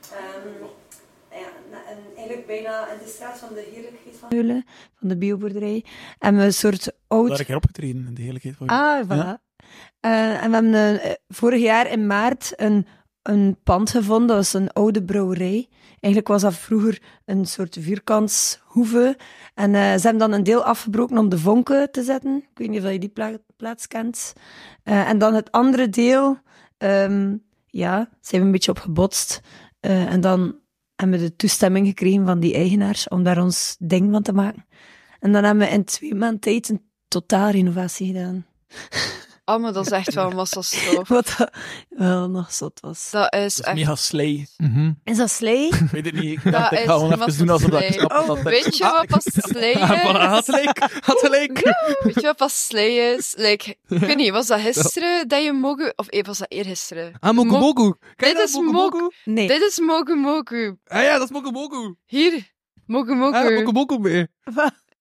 Ehm, eigenlijk bijna in de straat van de heerlijkheid van Heulen, van de bioboerderij. En we een soort oud...
Daar heb ik erop getreden, in de hele keer.
Ah, voilà. Eh, en we hebben eh, eh, vorig jaar in maart een, een pand gevonden. Dat was een oude brouwerij. Eigenlijk was dat vroeger een soort vierkantshoeve. En eh, ze hebben dan een deel afgebroken om de vonken te zetten. Ik weet niet of je die pla- plaats kent. Eh, en dan het andere deel, ehm, ja, zijn we een beetje op gebotst. Eh, en dan hebben we de toestemming gekregen van die eigenaars om daar ons ding van te maken. En dan hebben we in twee maanden tijd een totaal renovatie gedaan.
Oh, maar dat is echt wel massa stof.
Wat dat wel nog zot was.
Dat is echt...
Mega slay.
Is dat slee? Ik
weet het niet. Ik
Dat
dacht, ik
is
ga gewoon even
wat
doen alsof dat ik
slay.
snap.
Oh,
dat-
Weet je
Ah,
wat pas slay
Voilà, had
is?
leek, had leek.
Weet je wat pas slay is? Like, ik weet niet, was dat gisteren dat je mogu... Of eh, was dat eergisteren?
Ah, Moku Moku. Kijk
Dit
dat,
is
Moku Moku.
mogu...
Nee.
Dit is mogu mogu.
Ah ja, dat is Moku Moku.
Hier. Mogu mogu.
Ah, Moku Moku mee.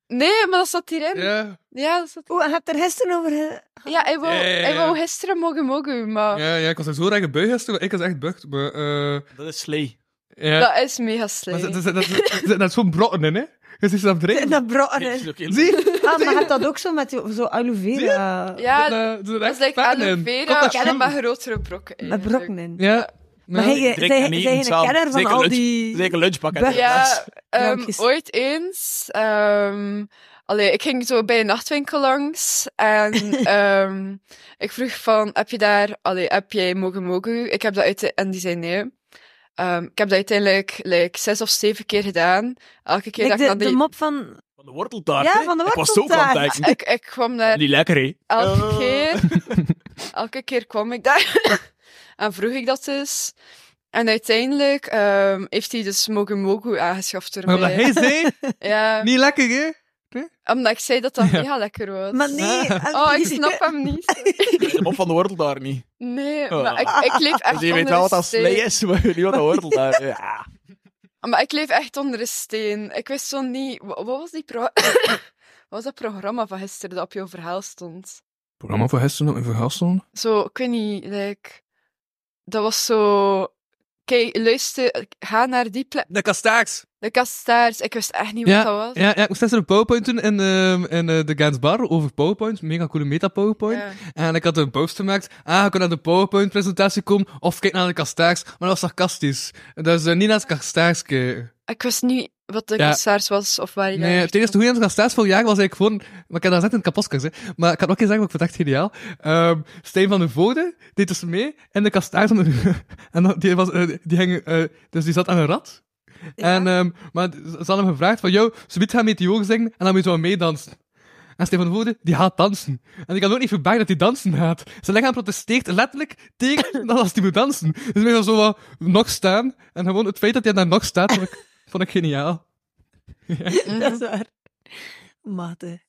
Nee, maar dat zat hierin.
Ja.
Ja, dat zat...
Oeh, hij hebt er gisteren over...
Ja, hij wou,
Ja, ja, ja,
hij
ja.
wou gisteren mogu mogu, maar...
Ja, ja, ik was er zo erg gebuigd. Ik was echt bucht. Maar, eh,
dat is slay.
Ja.
Dat is mega slay.
Maar ze- ze- ze- ze- ze- Dat is zo'n brotten in, hè? Je ziet ze dat drinken.
Nou,
Dat
Ah,
brotten.
Zie?
Ah, maar je hebt dat ook zo met die, zo aloe vera.
Ja,
dat,
dat is like aloe vera,
Komt dat
en
goed?
maar grotere brokken.
Met brokken in.
Ja.
Maar hij- hij-
Drinken en
hij-
eten
hij een
samen.
kenner van
Zeker
al
lunch-
die
Zeker lunchpak. uit de
Ja,
klas.
ehm,
Drankjes.
ooit eens. ehm, allee, ik ging zo bij een nachtwinkel langs en ehm, ik vroeg van, heb je daar, allee, heb jij mogen mogen? Ik heb dat uite- en die zei nee. Ehm, ik heb dat uiteindelijk like, zes of zeven keer gedaan. Elke keer
Like
dat ik
de,
naar die...
de mop van...
Van de worteltaart,
Ja,
hè?
van de
Ik was zo van het
worteltaart.
kijken.
ik, ik kwam daar
Die lekker, hè?
elke keer. Elke keer kwam ik daar en vroeg ik dat dus. En uiteindelijk ehm, heeft hij dus Mogu Mogu aangeschaft door
Maar
mij.
omdat hij zei,
Ja,
niet lekker, hè?
omdat ik zei dat dat
Ja.
mega lekker was.
Maar nee, en-
Oh, ik snap hem niet.
Of van de worteltaart niet.
Nee,
Oh.
maar ik, ik leef echt
Dus je weet
onder
wel
een
wat dat
steen.
slay is, maar je weet niet wat dat worteltaart is. Ja.
Maar ik leef echt onder een steen. Ik wist zo niet... wa- Wat was, die pro- wat was dat programma van gisteren dat op jouw verhaal stond?
Programma voor Hessen, voor Gaston.
Zo, ik weet niet, like... Dat was zo... kijk, luister, ga naar die plek.
De kastaars.
De kastaars. Ik wist echt niet wat dat was.
Ja, ja, ik moest gisteren een PowerPoint doen in, ehm, in eh, de Gans Bar over PowerPoint. Mega coole meta-PowerPoint.
Ja.
En ik had een post gemaakt. Ah, je kan naar de PowerPoint-presentatie komen of kijk naar de kastaars. Maar dat was sarcastisch. Dus eh, niet naar het kastaarske.
Ik wist niet wat de
Ja.
kastaars was of waar je
Nee, het enige goede aan het kastaars vorig jaar was eigenlijk gewoon... Maar ik heb dat net in het kapotkast, hè. Maar ik kan ook eens zeggen, want ik vond het echt geniaal. Ehm Stijn van de Voorde deed dus mee en de kastaars... van de- en dan- die, was, eh, die hing, eh, dus die zat aan een rat. En, ehm, maar ze hadden hem gevraagd van, yo, ze gaan meteor zingen en dan moet je wel meedansen. En Stefan van de Voorde, die haat dansen. En ik kan ook niet voorbij dat hij dansen haat. Zijn lichaam protesteert letterlijk tegen dat als hij moet dansen. Dus ik was zo wat nog staan. En gewoon het feit dat hij daar nog staat, vond ik, vond ik geniaal.
dat is
Mhm.
waar. Mate.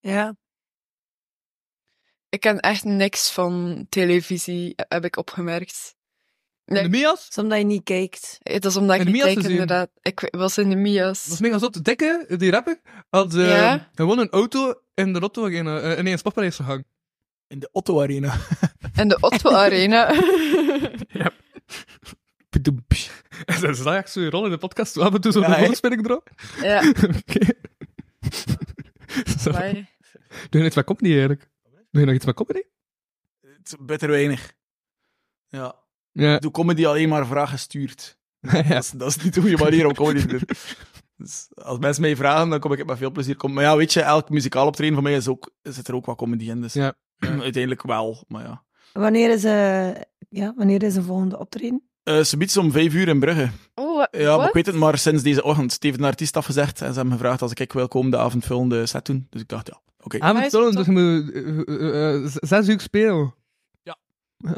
Ja.
Ik ken echt niks van televisie, eh, heb ik opgemerkt.
de Mias?
Omdat je niet kijkt.
Het is omdat ik
In de
niet
Mias
kijk,
gezien?
inderdaad. Ik was in de Mias.
Dat was mega zot. Dikke, die rapper, had eh,
Ja.
gewoon een auto in de Lotto Arena, eh, nee, in Sportpaleis gehangen.
In de Otto Arena.
In de Otto Arena.
dat is eigenlijk zo'n rol in de podcast. We hebben toen zo'n
Ja, hè?
woordspeling erop.
ja.
Doe je nog iets met comedy eigenlijk? Doe je nog iets met comedy?
Het is bitter weinig. Ja.
Ja.
Doe comedy alleen maar vragen stuurt.
Ja.
Dat, is, dat is niet de goede manier om comedy te doen. Dus als mensen mij vragen, dan kom ik met veel plezier. Kom, maar ja, weet je, elk muzikaal optreden van mij is ook, zit er ook wat comedy in. Dus
ja.
uiteindelijk wel, maar ja.
Wanneer is, eh ja, wanneer is de volgende optreden?
Eh ze biedt ze om vijf uur in Brugge.
Oh,
Ja, maar ik weet het maar sinds deze ochtend. Het heeft een artiest afgezegd en ze hebben me gevraagd als ik ik wil komen de avondvullende set doen. Dus ik dacht, ja, oké.
Avondvullend, dus je moet eh, eh, eh, z- zes uur spelen.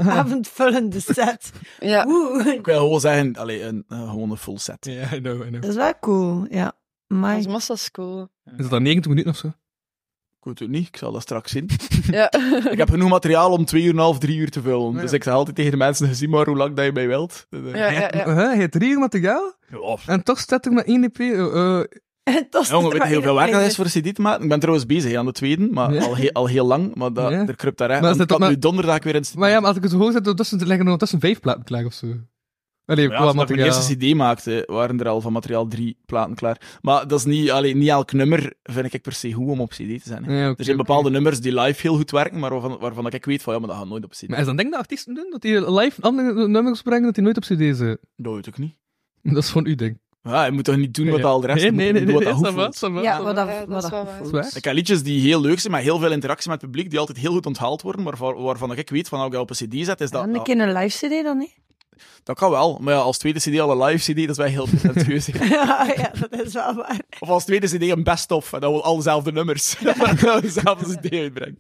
Avondvullende set.
ja.
Oeh.
Ik wil gewoon zeggen, allee, een, eh, gewoon een full set.
Ja, I know, I know.
Dat is wel cool, ja.
Dat
Maar
is massa school.
Is dat dan 90 minuten of zo?
Ik weet het niet, ik zal dat straks zien.
Ja.
ik heb genoeg materiaal om twee uur en een half, drie uur te vullen.
Ja.
Dus ik zeg altijd tegen de mensen, zie maar hoe lang dat je mij wilt. Dus, eh,
Ja, ja, ja.
Huh, Hij heeft drie uur materiaal
ja.
en toch staat er maar één EP. eh, eh,
dat
Jongen, weet je heel veel werk Nou, dat
dat
is voor een cd te maken? Ik ben trouwens bezig hè, aan de tweede, maar
Ja.
al, heel, al heel lang. Maar dat,
Ja.
er kruipt daar echt.
Maar is dat
want Ik had
ook
nu
maar-
donderdag weer een cd.
maar ja, maar als ik het zo hoog zet, ondertussen liggen er ondertussen vijf platen klaar of zo. Allee,
Ja,
qua
als ik mijn
materiaal.
eerste cd maakte, waren er al van materiaal drie platen klaar. Maar dat is niet, alleen niet elk nummer vind ik per se goed om op cd te zijn. hè.
Ja, oké,
er zijn
oké.
bepaalde nummers die live heel goed werken, maar waarvan, waarvan ik weet van, ja, maar dat gaat nooit op cd.
Maar is dan denk dat artiesten doen? Dat die live andere nummers brengen, dat die nooit op cd zijn?
Dat weet ik niet.
Dat is gewoon uw ding.
Ja, je moet toch niet doen wat al de rest
nee,
je moet
nee,
doen
nee, nee,
wat dat goed
ça va, ça
voelt.
va,
Ja,
ça
wat
va.
dat,
Ja, dat
wat
is
dat
wel
goed
waar.
voelt.
Dat is waar.
Ik heb liedjes die heel leuk zijn, maar heel veel interactie met het publiek, die altijd heel goed onthaald worden, maar waar- waarvan ik weet van, als ik dat op een cd zet, is dat...
Dan een keer een live CD dan, hè?
Dat kan wel, maar ja, als tweede CD al een live CD, dat is wel heel pretentieus.
ja, ja, dat is wel waar.
of als tweede CD een best-of, en dan wil al dezelfde nummers. dat we dezelfde CD uitbrengen.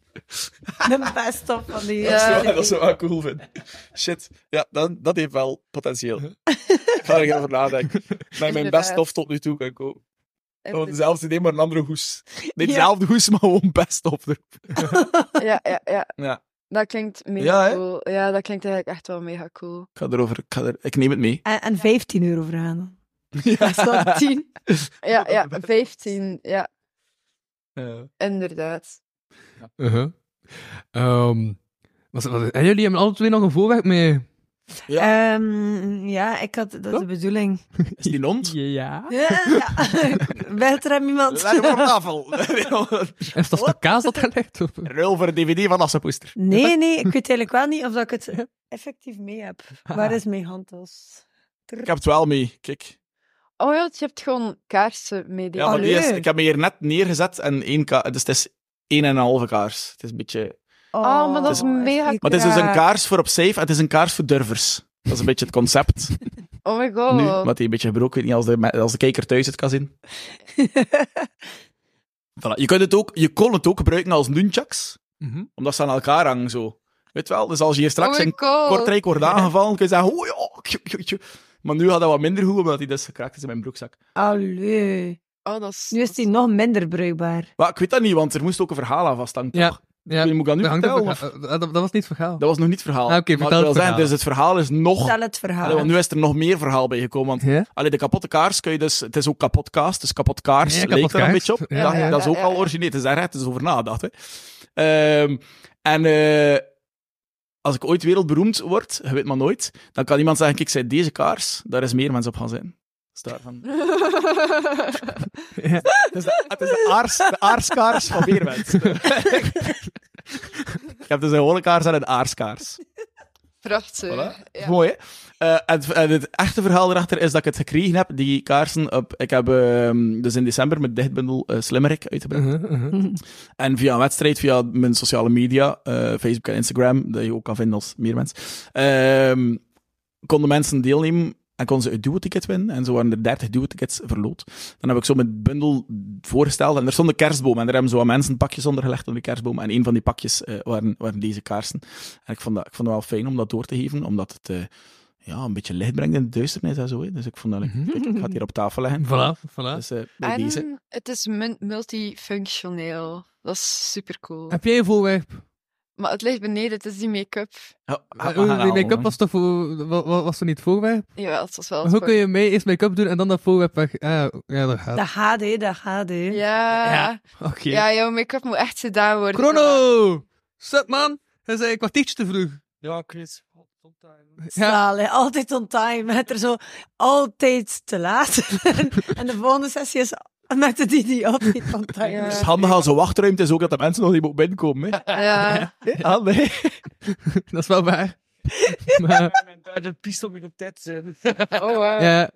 De best op van die. eh,
Ja.
Dat zou- Dat zou ik wel cool vinden. Shit, ja, dan, dat heeft wel potentieel. Ik ga er even over nadenken. Dat ik mijn
Inderdaad.
best-of tot nu toe kan kopen. Gewoon
Ja,
dezelfde CD, maar een andere hoes. Nee,
Ja.
dezelfde hoes, maar gewoon best-of. erop.
ja, ja, ja.
Ja.
Dat klinkt mega
Ja, hè?
cool. Ja, dat klinkt eigenlijk echt wel mega cool.
Ik ga erover, ik, ga er, ik neem het mee.
En, en 15 euro vragen dan. Ja. Is dat 10?
Ja, ja, 15. Ja,
Eh,
inderdaad.
Uh-huh. Ehm, was, was, en jullie hebben alle twee nog een voorwerp mee.
Ja. Ehm, ja, ik had, dat is
Toch?
de bedoeling.
is die hond?
Ja.
Ja, ja. Belt er hem iemand?
Leg hem op tafel.
Is dat de kaas dat gelegd? Of?
Ruil voor een dvd van Assepoester.
Nee, nee, ik weet eigenlijk wel niet of dat ik het effectief mee heb. Waar is mijn handtas?
Ik heb het wel mee, kijk.
Oh ja, je hebt gewoon kaarsen mee.
Ja, maar
Allee.
die is, ik heb me hier net neergezet en één ka- dus het is één en een halve kaars. Het is een beetje...
Oh, maar dat is mega
Maar het is dus een kaars voor op safe en het is een kaars voor durvers. Dat is een beetje het concept
Oh my god.
nu, wat die een beetje gebroken is, niet als de, me- als de kijker thuis het kan zien. Voilà. Je, kunt het ook, je kon het ook gebruiken als nunchucks,
Mhm.
omdat ze aan elkaar hangen zo. Weet wel, dus als je hier straks
Oh my
in
god.
Kortrijk wordt aangevallen, kun je zeggen... Oh, ja, tju, tju, tju." Maar nu gaat dat wat minder goed, omdat hij dus gekraakt is in mijn broekzak.
Allee.
Oh, dat is...
Nu is die nog minder bruikbaar.
Maar ik weet dat niet, want er moest ook een verhaal aan vasthangen.
Ja,
toch?
ja.
Ik weet niet, Moet ik dat nu
Dat, hangt
vertellen?
ook-
of-
eh, dat, dat was niet het verhaal.
Dat was nog niet het verhaal.
Ah, oké,
Maar ik
vertel
wil
het
zeggen,
verhaal.
Dus het verhaal is nog...
Vertel het verhaal.
Allee, want nu is er nog meer verhaal bij gekomen. Want
Ja?
allee, de kapotte kaars kun je dus... Het is ook kapotkaas, dus kapotkaars
Ja,
lijkt er een
kapotkaars.
beetje op.
Ja,
dat,
ja,
dat is
ja,
ook
ja,
al
ja.
origineel. Het is daar het is over nagedacht. Hè. Ehm, en eh, als ik ooit wereldberoemd word, je weet maar nooit, dan kan iemand zeggen, kijk, zei deze kaars, daar is meer mensen op gaan zijn. Dus daarvan. Het is de, het is de, aars, de aarskaars van Beerwens. je hebt dus een gewone kaars en een aarskaars.
Prachtig. Ja.
Mooi, hè? Eh, en, het- en het echte verhaal erachter is dat ik het gekregen heb, die kaarsen. Op, ik heb ehm, dus in december met dichtbundel eh, Slimmerik uitgebracht.
Uh-huh,
En via een wedstrijd, via mijn sociale media, eh, Facebook en Instagram, dat je ook kan vinden als meer mensen, ehm, konden mensen deelnemen en konden ze een duo-ticket winnen. En zo waren er 30 duo-tickets verloot. Dan heb ik zo mijn bundel voorgesteld en er stond een kerstboom. En daar hebben zo wat mensen pakjes onder gelegd op de kerstboom. En een van die pakjes eh, waren, waren deze kaarsen. En ik vond, dat, ik vond dat wel fijn om dat door te geven, omdat het... eh, ja, een beetje licht brengt in de duisternis en zo. Hè. Dus ik vond dat... ik- kijk, ik ga het hier op tafel leggen.
Voilà, voilà.
Dus eh, bij deze.
En het is mun- multifunctioneel. Dat is super cool.
Heb jij een voorwerp?
Maar het ligt beneden, het is die make-up.
Ah,
Eh, die make-up was toch voor, wa- wa- was er niet voorwerp?
Jawel, het was wel.
Maar hoe kun je mee eerst make-up doen en dan dat voorwerp weg? Ah, ja, dat gaat.
Dat HD, dat HD.
Ja. Ja,
Oké.
jouw make-up moet echt gedaan worden.
Chrono! Sup, man? Hij zei een kwartiertje te vroeg.
Ja, Chris.
Zalig, altijd on time. Het er zo altijd te laat. en de volgende sessie is met de die altijd on time.
Dus het handig als een wachtruimte is ook dat de mensen nog niet moeten binnenkomen. Hè.
Ja.
Ah, nee.
dat is wel waar.
Dat pistool weer op tijd zijn.
Oh, wow.
Ja.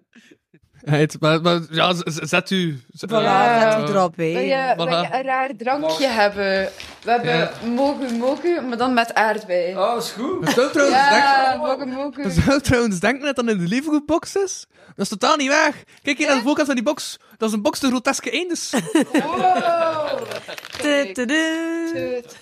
Het, maar, maar, ja, z- z- zet u. z-
Voilà,
eh,
zet u erop, Wil je, wil je een raar drankje hebben? We hebben
Ja.
mogen mogen, maar dan met aardbei.
Oh, is goed.
Dat zou trouwens,
ja,
denk-
mogen mogen.
dat zou trouwens denken dat dat in de liefgoedbox is. Dat is totaal niet waar. Kijk hier naar de voorkant van die box. Dat is een box de groteske dus. eenders.
Wow.
Tut, tut, tut.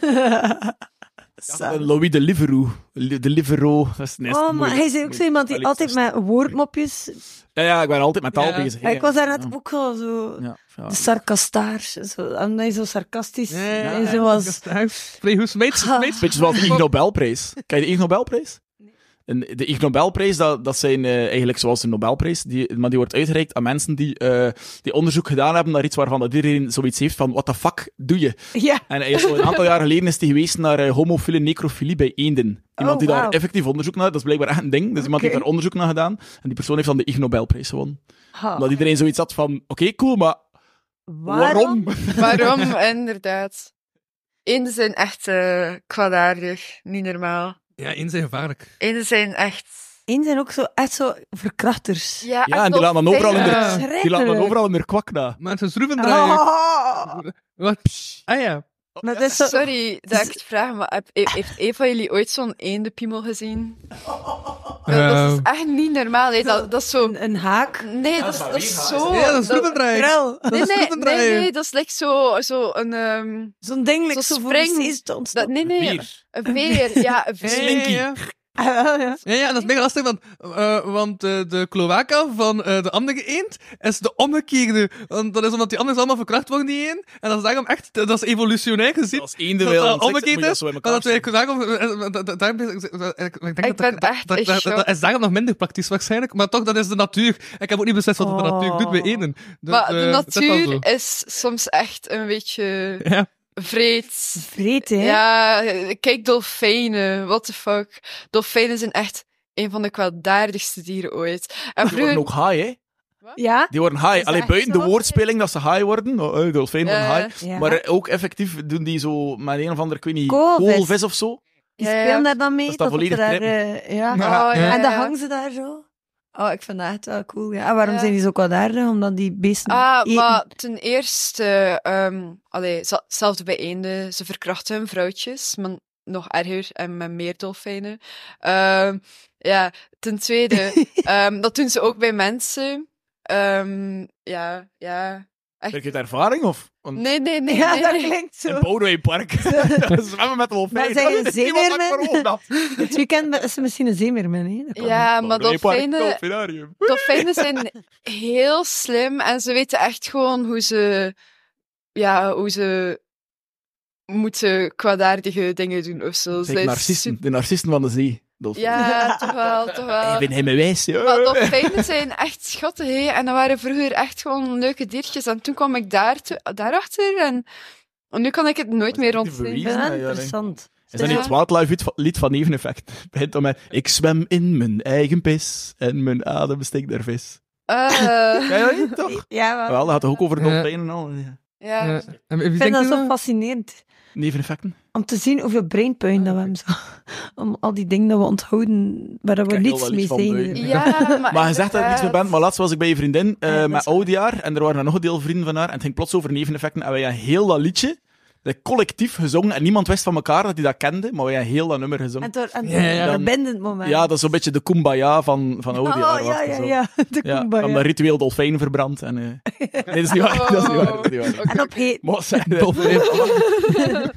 Een Eh, Louis de Liveroo. Li- De Livero. Dat is net
Oh, maar
moeilijk.
hij is ook zo iemand die
Moeilijk.
altijd met woordmopjes...
Ja, ja, ik ben altijd met taal
Ja.
bezig.
Ik was daarnet ook al zo...
Ja, ja.
De sarcastaars. Zo, omdat hij zo sarcastisch...
ja,
en zo was...
Vrij hoe smeet
Een beetje zoals de Ig Nobelprijs. Ken je de Ig Nobelprijs? En de Ig Nobelprijs, dat, dat zijn eh, eigenlijk zoals de Nobelprijs, die, maar die wordt uitgereikt aan mensen die, eh, die onderzoek gedaan hebben naar iets waarvan dat iedereen zoiets heeft van, what the fuck doe je?
Ja.
En hij is al een aantal jaar geleden is die geweest naar eh, homofiele necrofilie bij eenden. Iemand
Oh,
die daar
wauw.
effectief onderzoek naar, dat is blijkbaar echt een ding, dus iemand die
Oké.
daar onderzoek naar gedaan, en die persoon heeft dan de Ig Nobelprijs gewonnen.
Ha.
Omdat iedereen zoiets had van, oké, cool, maar
Waarom?
waarom?
Waarom, inderdaad. Eenden zijn echt eh, kwaadaardig, niet normaal.
Ja, in zijn gevaarlijk.
Eenden zijn echt...
Eén zijn ook zo, echt zo verkrachters.
Ja,
Ja, en die laten dan overal in de, die laten dan
Schrikkelijk.
overal in de kwak na.
Maar ze schroeven draaien.
Oh,
Wat? Ah ja.
maar dat is zo...
eh, Sorry dat ik het vraag, maar heb- he- heeft een van jullie ooit zo'n eendenpiemel gezien? Dat, dat
Eh,
is echt niet normaal. hè. Dat, dat is zo...
Een, een haak.
Nee, dat is, dat is zo...
ja, dat is schroevendraaier.
Rel.
Dat
Nee,
is
nee, nee,
schroevendraaier.
nee, dat is like zo, zo een... ehm,
Zo'n ding, like,
Zo'n
zo voor
spring.
precies te ontstaan.
dat, nee, nee,
Bier.
een veer. Ja, een veer.
Slinky. Ja,
Ah, ja.
ja, ja, dat is mega lastig, want, eh, want eh, de cloaca van eh, de andere eend is de omgekeerde. Want dat is omdat die anders allemaal verkracht worden, die eend. En dat is daarom echt, dat is evolutionair gezien.
Als eenden
dat
wil
dat omgekeerd
ontwikkelen, moet je dat
is,
zo in
maar
elkaar
dat wij
steken.
daarom, eh, dat- dat- daarom- ik denk
Ik
dat-
ben
dat- dat-
echt
dat-
in
dat-
shock.
dat is daarom nog minder praktisch waarschijnlijk, maar toch, dat is de natuur. Ik heb ook niet beslist wat de
Oh.
natuur doet bij eenden. Dus,
Maar de
eh, dat is wel zo.
natuur is soms echt een beetje
Ja.
vreed.
Vreten, hè?
Ja, kijk, dolfijnen. What the fuck. Dolfijnen zijn echt een van de kwaadaardigste dieren ooit. En
Die worden
vroeger...
ook high, hè?
Ja?
Die worden high.
dat
Alleen
echt
buiten
zo?
de woordspeling dat ze high worden. Oh, eh, dolfijn
Ja,
worden high.
ja.
Maar eh, ook effectief doen die zo met een of ander, ik weet niet,
Koolvis.
koolvis of zo.
Die
Ja, ja.
spelen daar dan mee.
Dat is dat
ze
volledig
daar,
trippen.
eh, ja.
Oh, ja,
En dan
ja.
hangen ze daar zo. Oh, ik vind dat echt wel cool. Ja. En waarom
Ja.
zijn die zo kwaadaardig? Omdat die beesten
Ah,
eten.
maar ten eerste, ehm allee, za- hetzelfde bij eenden. Ze verkrachten hun vrouwtjes, maar nog erger en met meer dolfijnen. Ehm, ja, ten tweede, ehm, dat doen ze ook bij mensen. Ehm, ja, ja. Echt.
Heb je het ervaring of? Want
Nee, nee, nee.
ja,
nee.
dat klinkt
In
zo.
Boudewijnpark. Zwemmen met de dolfijn.
Maar zijn
Dat
je
is niemand dat
zeemeermin?
verwoordt dat.
Het weekend is er misschien een zeemeermin, hè? Dat kan.
Ja, maar
Boudewijnpark,
dolfijnen,
dolfinarium.
Dolfijnen zijn heel slim en ze weten echt gewoon hoe ze, ja, hoe ze moeten kwaadaardige dingen doen of zo. Ze
Zeg,
is
narcisten. De narcisten van de zee.
super-
Dolfijn.
Ja, toch wel, toch
Ik
wel.
ben helemaal wijs.
Maar
ja.
dolfijnen zijn echt schattig, hè. En dat waren vroeger echt gewoon leuke diertjes. En toen kwam ik daar, daarachter en nu kan ik het nooit meer
die
ontzien.
bewijzen?
Ik vind dat
Ja, ja, nee.
interessant.
Is dat niet het Wildlife lied van- lied van Neveneffect? Het begint dan met... Ik zwem in mijn eigen pis en mijn adem stinkt naar vis.
Eh.
Ja, ja, toch?
Ja,
Wel, dat gaat toch ook over
Ja.
dolfijnen en al? Ja.
Ja.
Ja. En wie
Ik vind
denkt
dat
u
zo fascinerend.
Neveneffecten?
Om te zien hoeveel brainpuin dat we hebben. Zo. Om al die dingen dat we onthouden, waar dat we
Ik ken
niets
heel
mee
wel iets van
zijn.
buiten.
Ja, maar,
Maar je zegt dat je niets meer
inderdaad.
bent, maar laatst was ik bij je vriendin eh,
dat
met
is waar.
oudjaar en er waren nog een deel vrienden van haar en het ging plots over neveneffecten en wij hebben heel dat liedje dat collectief gezongen en niemand wist van elkaar dat hij dat kende, maar wij hebben heel dat nummer gezongen.
En door een
Ja, ja.
verbindend moment.
Ja, dat is zo'n beetje de kumbaya van, van
oh,
oudjaar. was
ja,
het
ja,
zo.
ja. De
Ja,
kumbaya.
dan dat ritueel dolfijn verbrand en... eh, Nee, dat is niet waar, dat is niet waar, dat is niet waar.
En op heet,
Maar zeg, eh,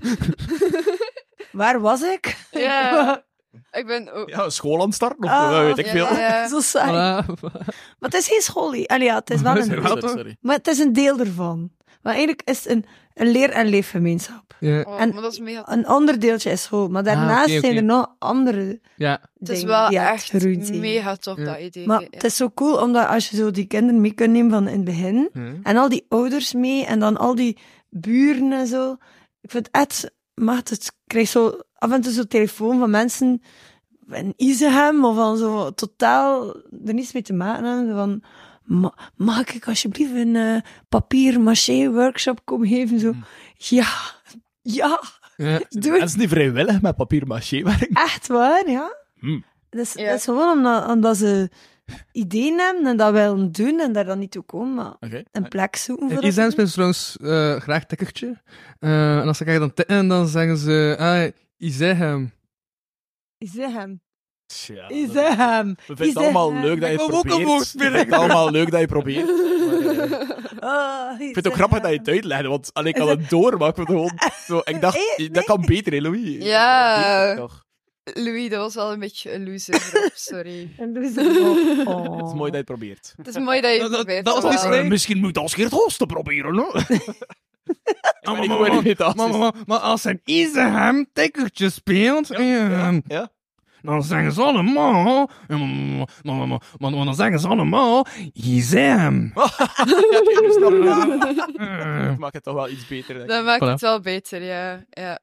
waar was ik?
Oh, Ja. Ik ben... oh,
Ja, school aan het starten, of
Ah,
eh, weet ik
ja,
veel.
ja, ja.
Zo saai. Maar het is geen scholie. Allee, ja, het is wel
Sorry,
een...
sorry,
sorry.
Maar het is een deel ervan. Maar eigenlijk is het een, een leer- en leefgemeenschap.
Ja.
Oh,
En-
maar dat is mega...
Een ander deeltje is school, maar daarnaast
oké, oké.
zijn er nog andere
Ja.
Het is
dingen
wel
die aan het
echt
groeien zijn.
mega tof,
Ja.
dat idee.
Maar
ja.
het is zo cool, omdat als je zo die kinderen mee kunt nemen van in het begin,
Ja.
en al die ouders mee, en dan al die buren en zo. Ik vind het echt macht. Het krijg zo af en toe zo'n telefoon van mensen in Izehem, of van zo totaal er niets mee te maken hebben, van... "Ma- Mag ik alsjeblieft een eh papier-maché-workshop komen geven? Zo, ja, ja,
Ja.
doe het
Mensen die vrijwillig met papier maché werken.
Echt waar, ja.
Hmm.
Dat, is,
Ja.
dat is gewoon omdat, omdat ze ideeën hebben en dat willen doen en daar dan niet toe komen, maar
Oké.
een plek zoeken voor
In Island
elkaar.
spelen ze trouwens eh, graag tikkertje. Eh, en als ze kijken dan tikken, dan zeggen ze... Ah, Izehem.
Is dat hem?
Tja,
Is
dat-
dat hem?
We vinden het
Is eh,
allemaal
dat-
leuk dat je het
Ik wou ook een
probeert.
woordspeling.
We vinden het allemaal leuk dat je probeert. Maar, eh,
Oh,
ik vind het ook grappig dat je het uitlegde, want allee, ik kan het doormaken. Gewoon, zo, ik dacht,
Eh,
dat kan beter, hè, Louis?
eh,
Ja.
Dat toch.
Louis, dat was wel een beetje een loser. Rob, Sorry.
En doe ze ook. Oh.
Het is mooi dat je het probeert.
Het is mooi dat je
Dat-
het
dat-
probeert.
dat was dus niet
wel.
slecht.
Eh, misschien moet Asgeert Hosten proberen, hoor.
Ah,
ik hoor niet dat.
maar, maar, maar- maar als een Izehem tikkertje speelt... eh,
Ja.
Dan zeggen ze allemaal... eh, maar- maar- maar- maar- maar- maar Dan zeggen ze allemaal... Izehem.
Ik snap het.
Eh.
Ik maak het toch wel iets beter. denk ik.
Dat maakt
Voilà.
het wel beter, ja. ja.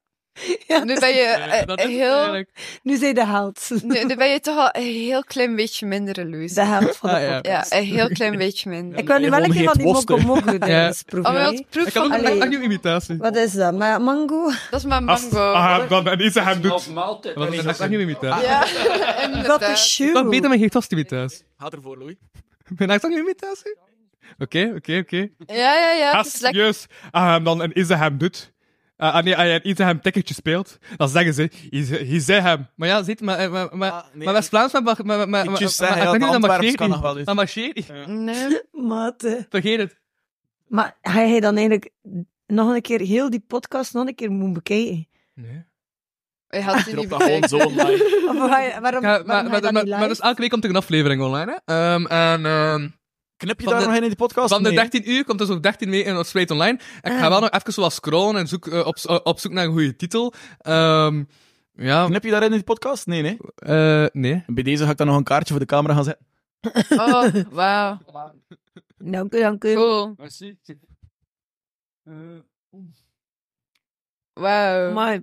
Ja,
Nu ben je eh,
Dat is het
heel...
eigenlijk.
Nu zijn de held.
Nu, nu ben je toch al een heel klein beetje minder een
De
loser.
held van de
Ah, ja.
podcast.
Ja, een heel klein beetje minder.
Ik wil nu
Je
wel een
mond
keer van
heet
die
Woster.
mokko mokko dinges
Oh,
proeven.
maar
hè.
wat proef
Ik had ook
van...
een
Allee.
een nieuwe imitatie.
Wat is dat? Maar mango?
Dat is mijn mango.
Ah, dat ben Izehem doet...
maaltijd.
Dat is echt nieuwe imitatie.
Ja,
Wat een
inderdaad.
Ik ben beter
shoe.
met geen gast imitatie.
Gaat ervoor, Louis.
Ben ik toch niet imitatie? Oké, oké, oké.
Ja, ja, ja. Het
Als
is lekker.
serieus ah, hem dan een Izehem doet, ah, ah, nee, als je een Izehem tikkertje speelt, dan zeggen ze Ize- Izehem. Maar ja, ziet, maar, eh, maar, maar,
Ah, nee.
maar West-Vlaams, maar, maar, maar, maar, maar,
Ik
maar,
juist zeggen,
maar-
ja,
maar-
het
dan
Antwerps
marcheert
kan
niet.
nog wel eens.
Dan marcheert niet.
Nee.
Mate.
Vergeet het.
Maar ga je dan eigenlijk nog een keer heel die podcast nog een keer moeten bekijken?
Nee.
Je had die
Drop
niet
dat gewoon zo
bekeken.
online.
Of waar- waarom,
Ja, maar,
waarom ga
maar,
je dat
maar,
niet
maar dus elke week komt er een aflevering online. Hè. Ehm, en, ehm,
Knip je
Van
daar
de-
nog in in die podcast?
van de
Nee.
13 uur komt er zo'n 13 mee in ons site online. En ik ga wel nog even zo wat scrollen en zoek, eh, op, op zoek naar een goede titel. Ehm, ja,
Knip je daarin in die podcast? Nee, nee.
eh, nee.
Bij deze ga ik dan nog een kaartje voor de camera gaan zetten.
Oh, wauw.
dus-
live? Dank u, dank u.
Cool.
Merci.
Wauw.
Maar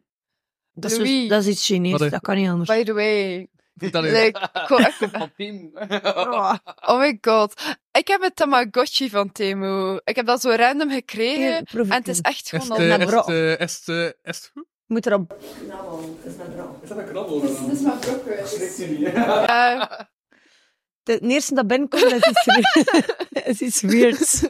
dat is, dus-
Louis.
dat is iets Chinees,
Wat, eh?
dat kan niet anders.
By the way.
Dat is-
Like, ko-
Van Tim.
Oh,
oh my god. Ik heb een Tamagotchi van Temu. Ik heb dat zo random gekregen.
hier, proef
En het is echt
Est,
gewoon al
eh,
net
est,
rot.
eh, est, eh, est goed?
Je moet erop...
Ja,
De de eerste dat binnenkomt, is iets, is iets weirds.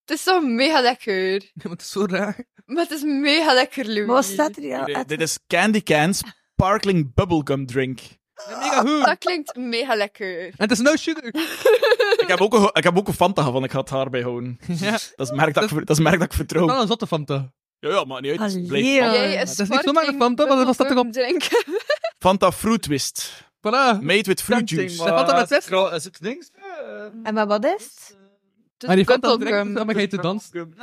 het is toch mega lekker.
Ja, maar het is zo raar.
Maar het is mega lekker, Louis.
Maar wat staat er hier?
Dit-
Het-
Dit is Candy Can Sparkling Bubblegum Drink.
Ah,
Mega goed. En
Dat klinkt mega lekker.
het is no sugar.
Ik heb ook een, ik heb ook een Fanta van, ik ga het haar bij houden.
Ja, Oh.
Dat is een merk dat ik, ver- dat is een merk dat ik vertrouw.
wel een zotte Fanta.
Ja, ja, maar niet uit. het blijft
Allee,
Fanta.
Jij
is niet zomaar een Fanta, maar dat was dat toch op-
drinken.
Fanta Fruit Twist.
Dus
Voilà.
Made with fruit juice.
Dat valt dan met zes.
Is het links?
Eh,
En maar wat is het?
Maar Ah, die Fanta drinkt, dan
Bubblegum.
ga je te dansen.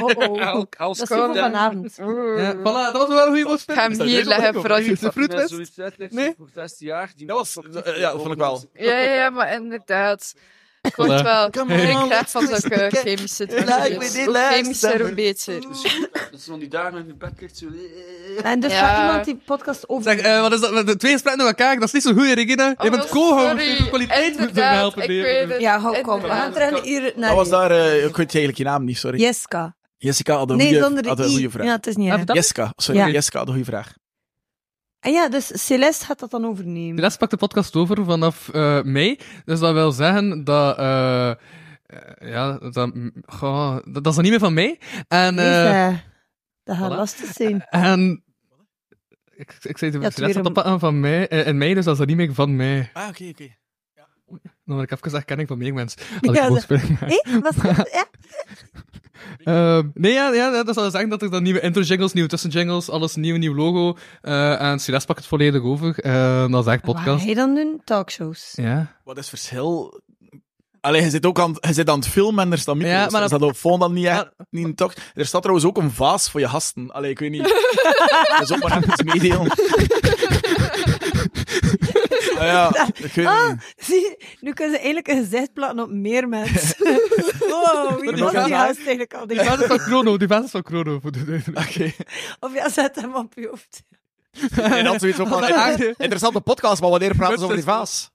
Oh, oh.
Elk als
Dat is voor vanavond.
Ja, voilà, dat was wel een goede
Ik ga
woordspeling.
hem hier leggen, vooral
Is dat de
je...
fruitwest?
Zoiets uitlegt
Nee.
voor 16 jaar. die
Dat was-
moet-
eh, ja, dat vond ik wel.
Ja, ja, ja, maar inderdaad. Ik word
Voilà.
wel...
Come
ik
on,
krijg van
let's
zo'n
twist the
chemische
cat. Like we
drugs.
did
Hoe
last
chemischer, hoe
summer.
beter.
Dat is nog die dagen in je bed ligt zo...
En dus
Ja.
gaat iemand die podcast over...
Zeg, eh, wat is dat? De twee spreken met elkaar, dat is niet zo goed, Regina. Je bent co-host,
Oh, sorry.
je moet de kwaliteit moeten helpen. leren.
Ja, hou kom. We
Inderdaad.
gaan terug hier naar
Dat was daar, eh, ik weet eigenlijk je naam niet, sorry.
Jeska.
Jessica had een
Nee,
goede-
zonder de
had een
i.
goede vraag.
Ja, het is niet
Ah,
erg.
Jessica, sorry,
Ja.
Jessica had een goede vraag.
En ja, dus Celeste gaat dat dan overnemen.
De rest pakt de podcast over vanaf eh, mei. Dus dat wil zeggen dat. eh, eh, ja, dat, mm, goh, dat, dat is dan niet meer van mij. En,
Nee,
eh,
zeg. dat gaat
voilà.
lastig zijn.
en ik, ik zei
Ja, het
het
weer
rest op
een-
dat pakken van mij. eh, en mij, dus dat is dan niet meer van mij.
Ah, oké, oké.
Dan word ik even herkenning van meer mensen. Als
Ja,
ik boos
ze-
ben.
Hé, was ja.
Ehm, nee, ja, ja, dat zal zeggen dat er dan nieuwe intro-jingles, nieuwe tussen-jingles, alles nieuw, nieuw logo. eh, en Celeste pakt het volledig over. Eh, dat is echt
Wat ga
podcast.
je dan doen? Talkshows.
Ja.
Wat is het verschil? Allee, je zit ook aan, je zit aan het filmen en er staan micro's.
Ja, maar
Is
dat-
dat op phone dan niet, echt, niet in talk? Er staat trouwens ook een vaas voor je gasten. Allee, ik weet niet. dus op maar even meedelen. ah, ja, ik weet
Ah,
niet.
zie, nu kunnen ze eigenlijk een gezicht plakken op meer mensen. wow, wie
Die
was die
gaan-
gast eigenlijk al? Die
Die basis van Chrono, die basis van Chrono. voor de- de- de-
Oké.
Of ja, zet hem op je hoofd.
En dan zoiets van, eh, interessante podcast, maar wanneer praten ze over die vaas?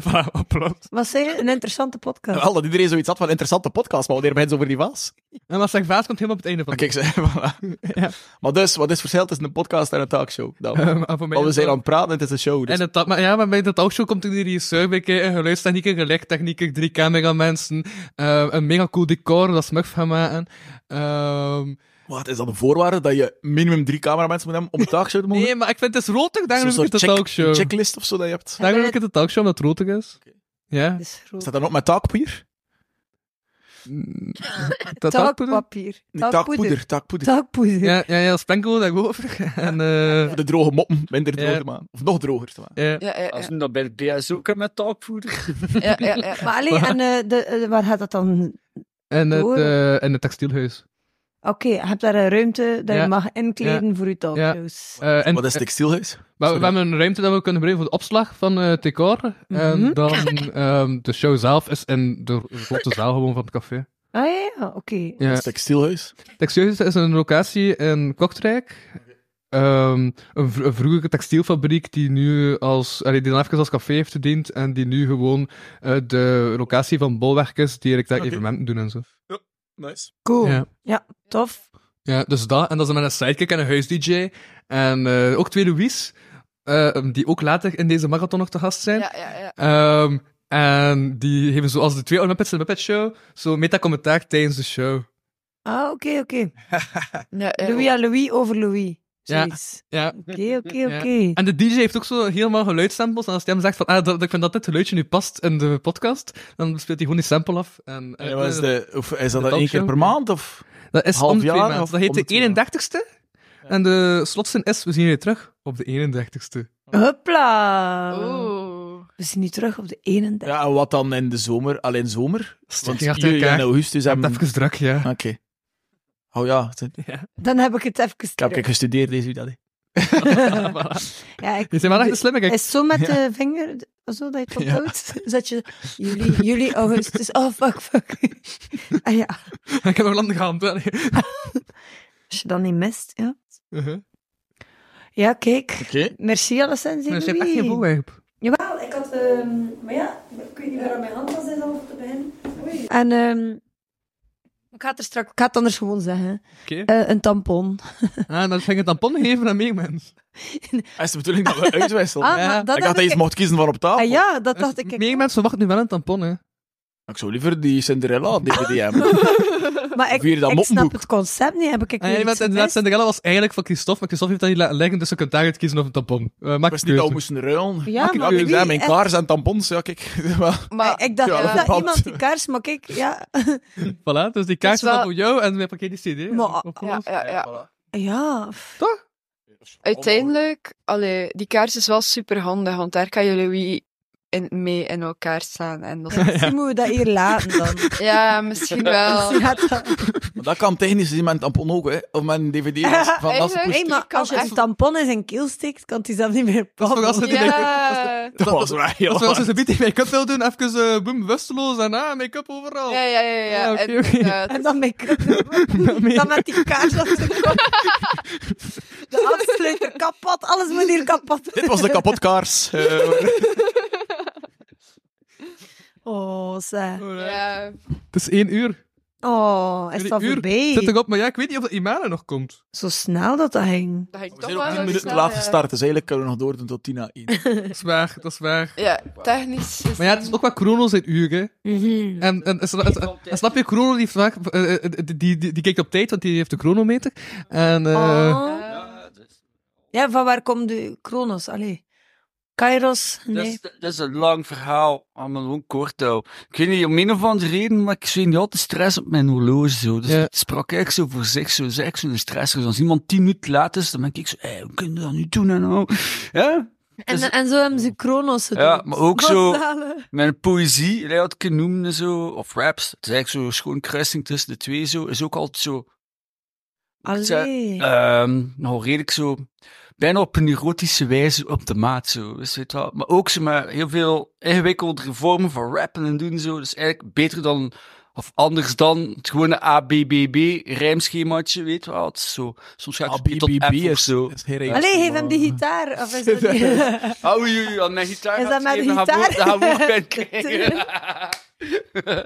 Voilà, applaus.
Was zij een interessante podcast?
Wel, dat iedereen zoiets had van interessante podcast, maar wanneer beginnen ze over die vaas?
En als zegt vaas, komt helemaal op het einde van
Maar
de
Ah, kijk, ze- voilà. Maar dus, wat is het verschil tussen een podcast en een talkshow? Dan?
Ehm, ah, voor mij
Want we
is
zijn
dat-
aan het praten en het is een show. Dus.
En het, maar ja, maar bij de talkshow komt er die regisseur bij kijken, geluidstechnieker, geluidstechnieker, drie cameramensen, eh, een mega cool decor dat Smurf gaan maken. Ehm,
Wat, is dat een voorwaarde dat je minimum drie cameramensen moet hebben om een talkshow te mogen?
nee, maar ik vind het is rotig, daarom
Zo'n
heb ik
soort
het de
check-
talkshow.
checklist of zo dat je hebt.
Daarom heb ik het de talkshow, omdat het rotig is. Ja,
Is groot.
Staat dat ook met taakpoeder?
dat talkpoeder.
Talkpapier.
Nee, taakpoeder, taakpoeder.
Talkpoeder.
Ja, ja, ja, sprenkel daarover. En, eh
Voor de droge moppen minder droog
Ja.
te maken. Of nog droger te maken.
ja.
Ja, ja,
Als
ja.
we dat bij de BS ook hebben met talkvoeder.
ja, ja, ja.
Maar alleen, en eh, de, eh, waar gaat dat dan?
En het,
Door.
eh, en het textielhuis.
Oké, je hebt daar een ruimte dat je
Ja.
mag inkleden voor je talkshows.
Eh, en,
Wat is textielhuis?
We, we
Sorry.
hebben een ruimte dat we kunnen gebruiken voor de opslag van eh, het decor. En dan ehm, de show zelf is in de grote zaal gewoon van het café.
Ah ja, ja, oké.
Ja.
Wat is textielhuis?
Textielhuis is een locatie in Kortrijk. Ehm, een, vro- een vroegere textielfabriek die nu als, allee, die dan even als café heeft gediend en die nu gewoon eh, de locatie van bolwerk is die eigenlijk daar
Oké.
evenementen doen en zo.
Nice.
Cool.
Ja.
Ja. tof.
Ja, dus dat. En dat is dan met een sidekick en een huis-dj. En eh, ook twee Louis, eh, die ook later in deze marathon nog te gast zijn.
Ja, ja, ja.
Ehm, en die geven zoals de twee oude Muppets in de Muppet Show, zo meta-commentaar tijdens de show.
Ah, oké, oké.
Ja, ja.
Louis à Louis over Louis.
Ja.
Zoiets.
Ja.
Oké, oké,
Ja.
oké.
En de DJ heeft ook zo helemaal geluidssamples. En als hij hem zegt van, ah, dat, ik vind dat dit geluidje nu past in de podcast, dan speelt hij gewoon die sample af. En, eh,
En wat is, de, of is dat
de
dan één keer
talkshow?
per maand? Of?
dat is
half
om de twee
jaar
maanden.
of
Dat
om de
heet
twee maanden?
de 31ste. En de slotzin is, we zien jullie terug op de 31ste.
Hopla.
Oeh.
We zien nu terug op de 31.
Ja, en wat dan in de zomer? Alleen zomer?
Stik
Want
je achter
juli en
elkaar.
augustus hebben... Oké.
Even druk, ja.
Oh ja, het- ik
Dan heb ik het even
heb
terug.
kijk, gestudeerd deze week. allee.
Ja, ik...
Je zijn wel echt een slimme kijk.
Is zo met de vinger, zo dat je het ophoudt? Zet je juli, juli, augustus. Oh, fuck, fuck. ah ja,
Ik heb nog lang de hand. hè.
als je dan niet mist, ja.
Uh-huh.
Ja, kijk.
Oké.
Merci alleszins,
Maar
Louis.
je hebt echt geen voorwerp.
Jawel, ik had... ehm, maar ja, ik weet niet waar aan mijn hand was is om te beginnen. En ehm, ik ga het er straks... Ik ga het anders gewoon zeggen.
Oké.
Eh, een tampon.
Ah, dan ging je tampon geven aan meer mensen.
Hij is de bedoeling dat we uitwisselen.
Ah,
ja.
maar dat
ik dacht
heb
dat je iets mocht kiezen van op tafel.
Ah ja, dat
Dus
dacht ik.
Meer mensen verwachten nu wel een tampon, hè. Ah,
Ik zou liever die Cinderella-DVD hebben.
Maar ik,
Vier dat
ik snap
moppenboek.
het concept niet. Heb ik ik
Ah, ja, want inderdaad, Cinderella was eigenlijk van Christophe, maar Christophe heeft dat niet laten liggen, dus ze kunt daaruit kiezen of een tampon. Eh
Ik
maak
wist
een
niet dat we
keuze.
moesten ruilen.
Ja,
ik,
maar
ik,
wie
ja, mijn
echt-
kaars en tampons, ja, kijk. Maar-
Maar
ik dacht
Ja,
ook
dat
dat
valt.
iemand die kaars, maar kijk, ja.
Voilà, dus die kaart is
Het is
dan
wel-
voor jou en we pakken die cd.
Maar-
Ja, eh, ja, ja.
Ja, pff.
Uiteindelijk, allee, die kaars is wel super handig, want daar kan je Louis in, mee in elkaar staan. En dat is-
misschien moeten we dat hier laten dan.
ja, misschien wel.
Ja, dat-
Maar dat kan technisch gezien met een tampon ook, hè. Of met een DVD. dus Van, dat is-
Eigenlijk-
Hey, maar
kan
als je een
echt-
tampon in zijn keel steekt, kan hij zelf niet meer
Dat is toch als
praten.
het
Ja. ja.
Dat was wel heel
Als we als ze
hard.
een beetje make-up wil doen, even eh boem, bewusteloos en ah, make-up overal.
Ja, ja, ja, ja.
Ah, oké, oké.
inderdaad.
En dan make-up. Dan met die kaars op de kop. De afsluiter kapot. Alles moet hier kapot.
Dit was de kapotkaars. Eh,
Oh, ze.
Ja.
Het is één uur.
Oh, is
Jullie
dat
uur
voorbij?
Zit ik op, maar ja, ik weet niet of de Imane nog komt.
Zo snel dat dat ging.
Dat ging
we
toch
zijn
wel
op 10
zo
minuten te
snel,
laat
ja.
gestart, dus eigenlijk kunnen we nog doordoen tot 10 na 1.
Dat is waar, dat is waar.
Ja, technisch. is
Maar ja, het is ook wat chrono zijn uur, hè.
Mhm.
En, en, en, en- en- en snap je, chrono die, heeft vaak, eh, eh, die, die, die, die kijkt op tijd, want die heeft de chronometer. En eh,
Oh. Ja, van waar komt de Kronos? Allee. Kairos?
Dat
Nee.
is, dat is een lang verhaal, allemaal gewoon kort houden. Ik weet niet om een of andere reden, maar ik zie niet altijd stress op mijn horloge. Zo. Dus
Ja.
het sprak echt zo voor zich, zo zeg zo'n stress. Dus als iemand tien minuten laat is, dan ben ik zo, hé, Eh, hoe kunnen we dat nu doen en nou? Ja?
En,
Dus-
en zo hebben ze Kronos gedaan.
Ja, maar ook zo-
Basale.
Mijn poëzie, die had ik genoemd, eh, zo, of raps, het is eigenlijk zo'n schoon kruising tussen de twee, zo, is ook altijd zo,
Allee.
ehm nou redelijk zo, bijna op een erotische wijze op de maat, zo, dus weet je wel. Maar ook, zeg maar, heel veel ingewikkeldere vormen van rappen en doen, zo, dus eigenlijk beter dan, of anders dan het gewone ABBB rijmschemaatje, weet je wel. Het is zo, soms
Ah,
ga ik van B tot F of zo.
is geen regel.
Allee, geef hem die gitaar. Of is dat niet?
Oh, oei, oei, aan mijn gitaar
Is dat
gaat
met
geven, dan gaan we-
gitaar?
dan gaan we ook bij krijgen.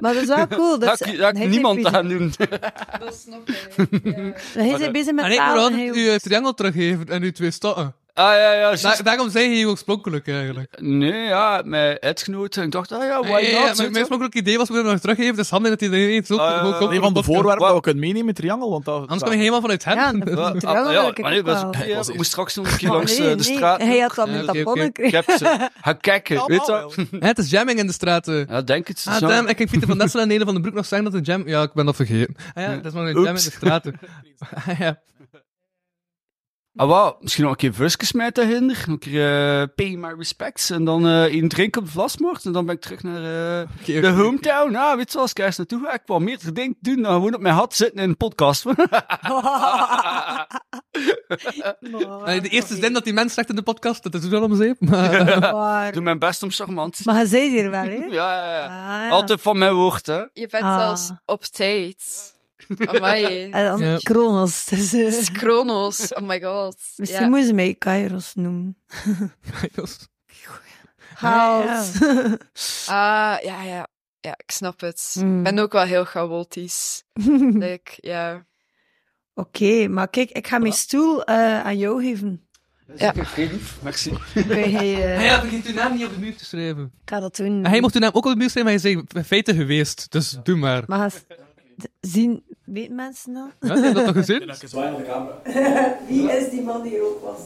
maar dat is wel cool.
Dat
Dat,
had ik- dat had ik niemand aan doen. Ah,
Dat snap ik.
Hij is bezig met
en Ah, ik moet
taal. en
altijd
hij-
uw triangel teruggeven en uw twee stotten.
Ah ja, ja, juist.
Da- daarom zei hij ook sponkelijk eigenlijk.
Nee, ja, mijn uitgenoten. Ik dacht, ah ja, why
Ja, ja,
not?
mijn
weet
mijn
je wel.
oorspronkelijk idee was we hem nog teruggeven, dus handig dat hij er ineens ook
Ah, ja,
ook- ook-
ja.
ook-
Een van de
ook-
voorwaarden dat we kunnen meenemen, triangel. Want dat,
Anders kan je helemaal vanuit hem.
Ja, dat
Ah,
vind ik
ah,
wel
ja,
leuk.
maar nee, dat is-
wel.
ja,
was
we
eerst.
moesten straks nog een keer
Maar
langs
nee,
eh, de
nee,
straat.
Hij had dat
Ja,
met
oké,
dat
oké.
bonnen
Ik
gekregen.
heb ze. Ga kijken, weet je wel.
Hè, het is jamming in de straten.
Ja, denk het.
Ah,
zo.
damn, ik ging Pieter van Dessel en Nene van den Broek nog zeggen dat een jam... Ja, ik ben dat vergeten. Ah ja,
Ja.
dat is maar een
Oeps.
jam in de straten. Ah, ja.
Ah, wauw. Misschien nog een keer Vuskes mij te hinder. Nog een keer eh, pay my respects. En dan eh één drink op Vlasmoord. En dan ben ik terug naar eh,
Oké,
de
oké.
hometown. Nou, weet je wel, als ik ergens naartoe ga, ik wil meer dingen doen dan gewoon op mijn hat zitten in een podcast.
Eh, de eerste zin dat die mens zegt in de podcast, dat is wel om zeep. Maar,
Ik
Maar,
doe mijn best om charmant te zijn.
maar hij zei hier wel, hè?
Ja, ja, ja.
Ah, ja.
Altijd van mijn woord, hè.
Je bent
Ah.
zelfs op tijd. Amai.
En dan
Ja.
Kronos. Dus, eh,
Het is Kronos. Oh my god.
misschien
Ja.
moeten ze mij Kairos noemen.
Jos,
Haalt.
Ah, ja, ja. Ja, ik snap het.
Hmm.
Ik ben ook wel heel chaotisch. Like, ja.
Oké, maar kijk, ik ga mijn stoel eh, aan jou geven.
Ja.
Merci.
Kun jij, eh,
Ah ja, vergeet uw naam niet op de muur te schrijven.
Ik ga dat doen.
En hij mocht uw naam ook op de muur schrijven, maar hij is in feite geweest. Dus doe maar.
Maar ga s- d- zien, weet mensen dat?
Ja, heb je dat toch gezien?
Wie is die man die ook was?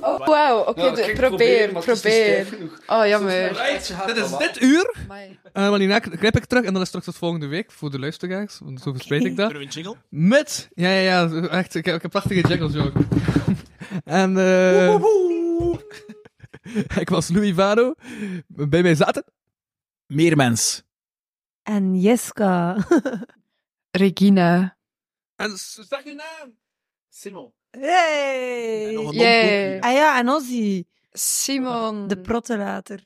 Oh, wauw. Oké,
Ja,
de-
Nou, ik
probeer,
maar het is niet stijf
probeer.
genoeg.
Oh, jammer.
Dit is dit uur.
Amai.
Eh, maar hierna knip ik terug en dan is straks tot volgende week voor de luisteraars. Want zo verspreid ik dat.
Kunnen we een jingle?
Met. Ja, ja, ja. Echt, ik heb, ik heb prachtige jingles, joh. en. eh ik was Louis Vado. Bij mij zaten.
Meer mens.
En Jeska.
Regina.
En zeg je naam.
Simon.
Hey!
Nog een
Yay.
Ah ja, en Ozzy.
Simon.
De protterater.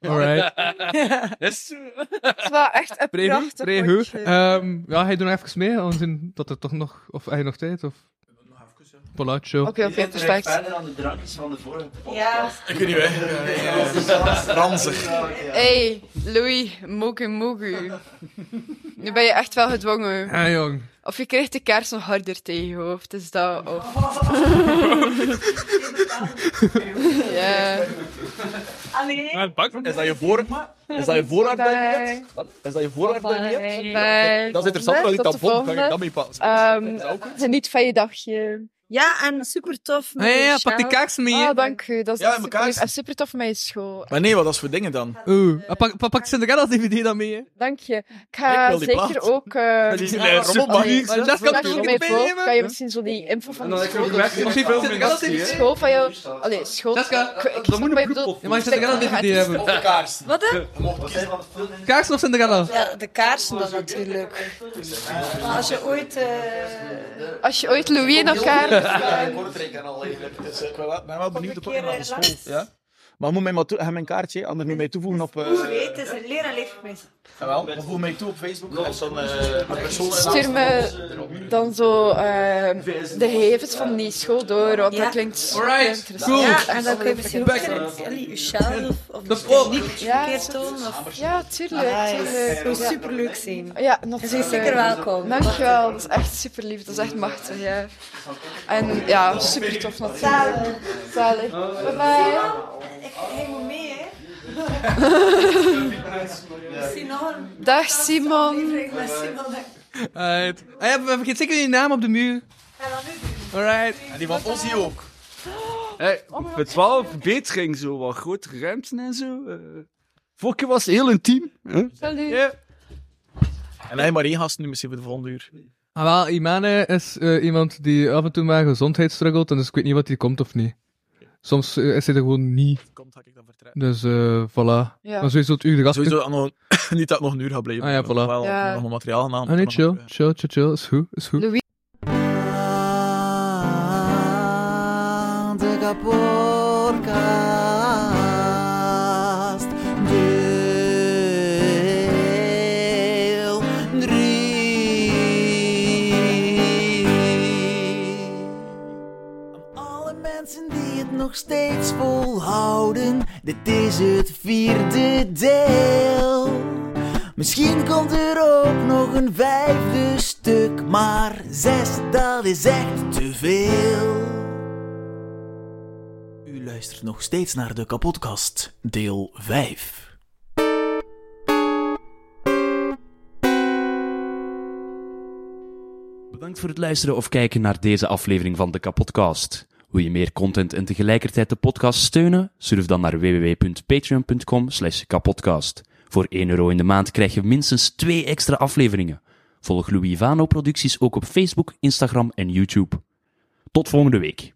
Alright.
Yes.
Het is wel echt een
Prehu.
prachtig
Prehu.
potje.
Ehm, ja, hij doet nog even mee. Aangezien dat er toch nog. Of hij nog tijd. Of. Palacio.
Oké, oké, perfect.
aan de drankjes van de vorige
Ja.
Ik weet niet, hè. Ranzig.
Hey, Louis, mogu mogu. Nu ben je echt wel gedwongen.
Ah, jong.
Of je krijgt de kaars nog harder tegen je hoofd, is dat of... ja.
Allee.
Is dat je voor... Is dat je voorwaarde dat je hebt? Is dat je voorwaarde dat je hebt?
Bye.
Dat is interessant, dat ik
Tot
dat
de
vond.
volgende.
Ga ik dat mee passen?
Ehm, geniet van je dagje.
Ja, en super tof.
Ah, ja, ja, pak die
kaart.
kaarsen mee. hè.
Ah, dank u. Dat is
Ja, en
super,
elkaar-
lief. en super tof met je school.
Maar nee, wat is voor dingen dan?
Oeh. Ah, Pak, pak, pak Cinderella's DVD dan mee. hè.
Dank je. Ik
Ik
ga
wil die
zeker
plaat.
ook... eh,
Die
allee,
rommelband.
Maar dat kan
Als
toch
je
ook
mee volgt,
meenemen?
kan je misschien zo die info van de school...
Cinderella-DVD.
School van jou... Allee, school...
Jessica,
Ik- ik-
dat moet
ik-
een broek Je mag Cinderella-DVD hebben.
Kaars.
Wat dan?
Kaars of Cinderella?
Ja, de kaarsen dan natuurlijk. Maar als je ooit... eh,
Als je ooit Louis in elkaar...
Ik eh, ben wel- ben wel benieuwd op
Nog een
naar de
keer, eh,
school.
langs?
Ja? Maar moet mij maar toe, hij mijn kaartje, anders moet mij toevoegen op... eh,
het is een leraar leven mensen.
Jawel, maar voeg mij toe op Facebook. En dan,
Stuur me dan zo eh, de gegevens van die school door, want dat klinkt super interessant.
Cool.
Ja,
en dan kun je misschien ook
Back.
verder Allee, jezelf of de
ook.
techniek
Ja,
verkeerd tonen. Of...
Ja, tuurlijk.
Nice.
tuurlijk.
Het zou superleuk zijn.
Ja, nog
Je bent zeker welkom.
Dankjewel, dat is echt super lief, dat is echt machtig. Ja. En ja, super tof natuurlijk. Zalig. Bye bye.
Ik neem hem mee, hè. Simon.
Dag Simon.
Met Simon.
Alright. Ah ja, we vergeet zeker je naam op de muur. Alright.
En die van Ozzy ook.
Hey, het wel een verbetering, zo, wat grotere ruimte en zo. eh. vorige keer was het heel intiem. Hè?
Salut.
En hij maar één gast nu misschien voor de volgende uur.
Ah, wel, Imane is eh, iemand die af en toe maar gezondheid struggelt, en dus ik weet niet wat die komt of niet. Soms eh, is hij er gewoon niet. Komt, ga ik dan vertrekken. Dus, eh, voilà.
Ja.
Maar sowieso het uur de gast.
Sowieso, ah, nog- niet dat het nog een uur gaat blijven.
Ah ja,
maar
voilà.
Wel,
Ja.
nog wat materiaal gaan
Ah
halen.
nee, chill, chill, chill, chill. Is goed, is goed.
de Kapoorkast. Deel 3. Aan alle mensen die het nog steeds volhouden, dit is het vierde deel. Misschien komt er ook nog een vijfde stuk, maar zes, dat is echt te veel.
U luistert nog steeds naar de kapotkast, deel 5.
Bedankt voor het luisteren of kijken naar deze aflevering van de Kapodcast. Wil je meer content en tegelijkertijd de podcast steunen? Surf dan naar www.patreon.com slash kapodcast. Voor 1 euro in de maand krijg je minstens 2 extra afleveringen. Volg Louis Vano producties ook op Facebook, Instagram en YouTube. Tot volgende week.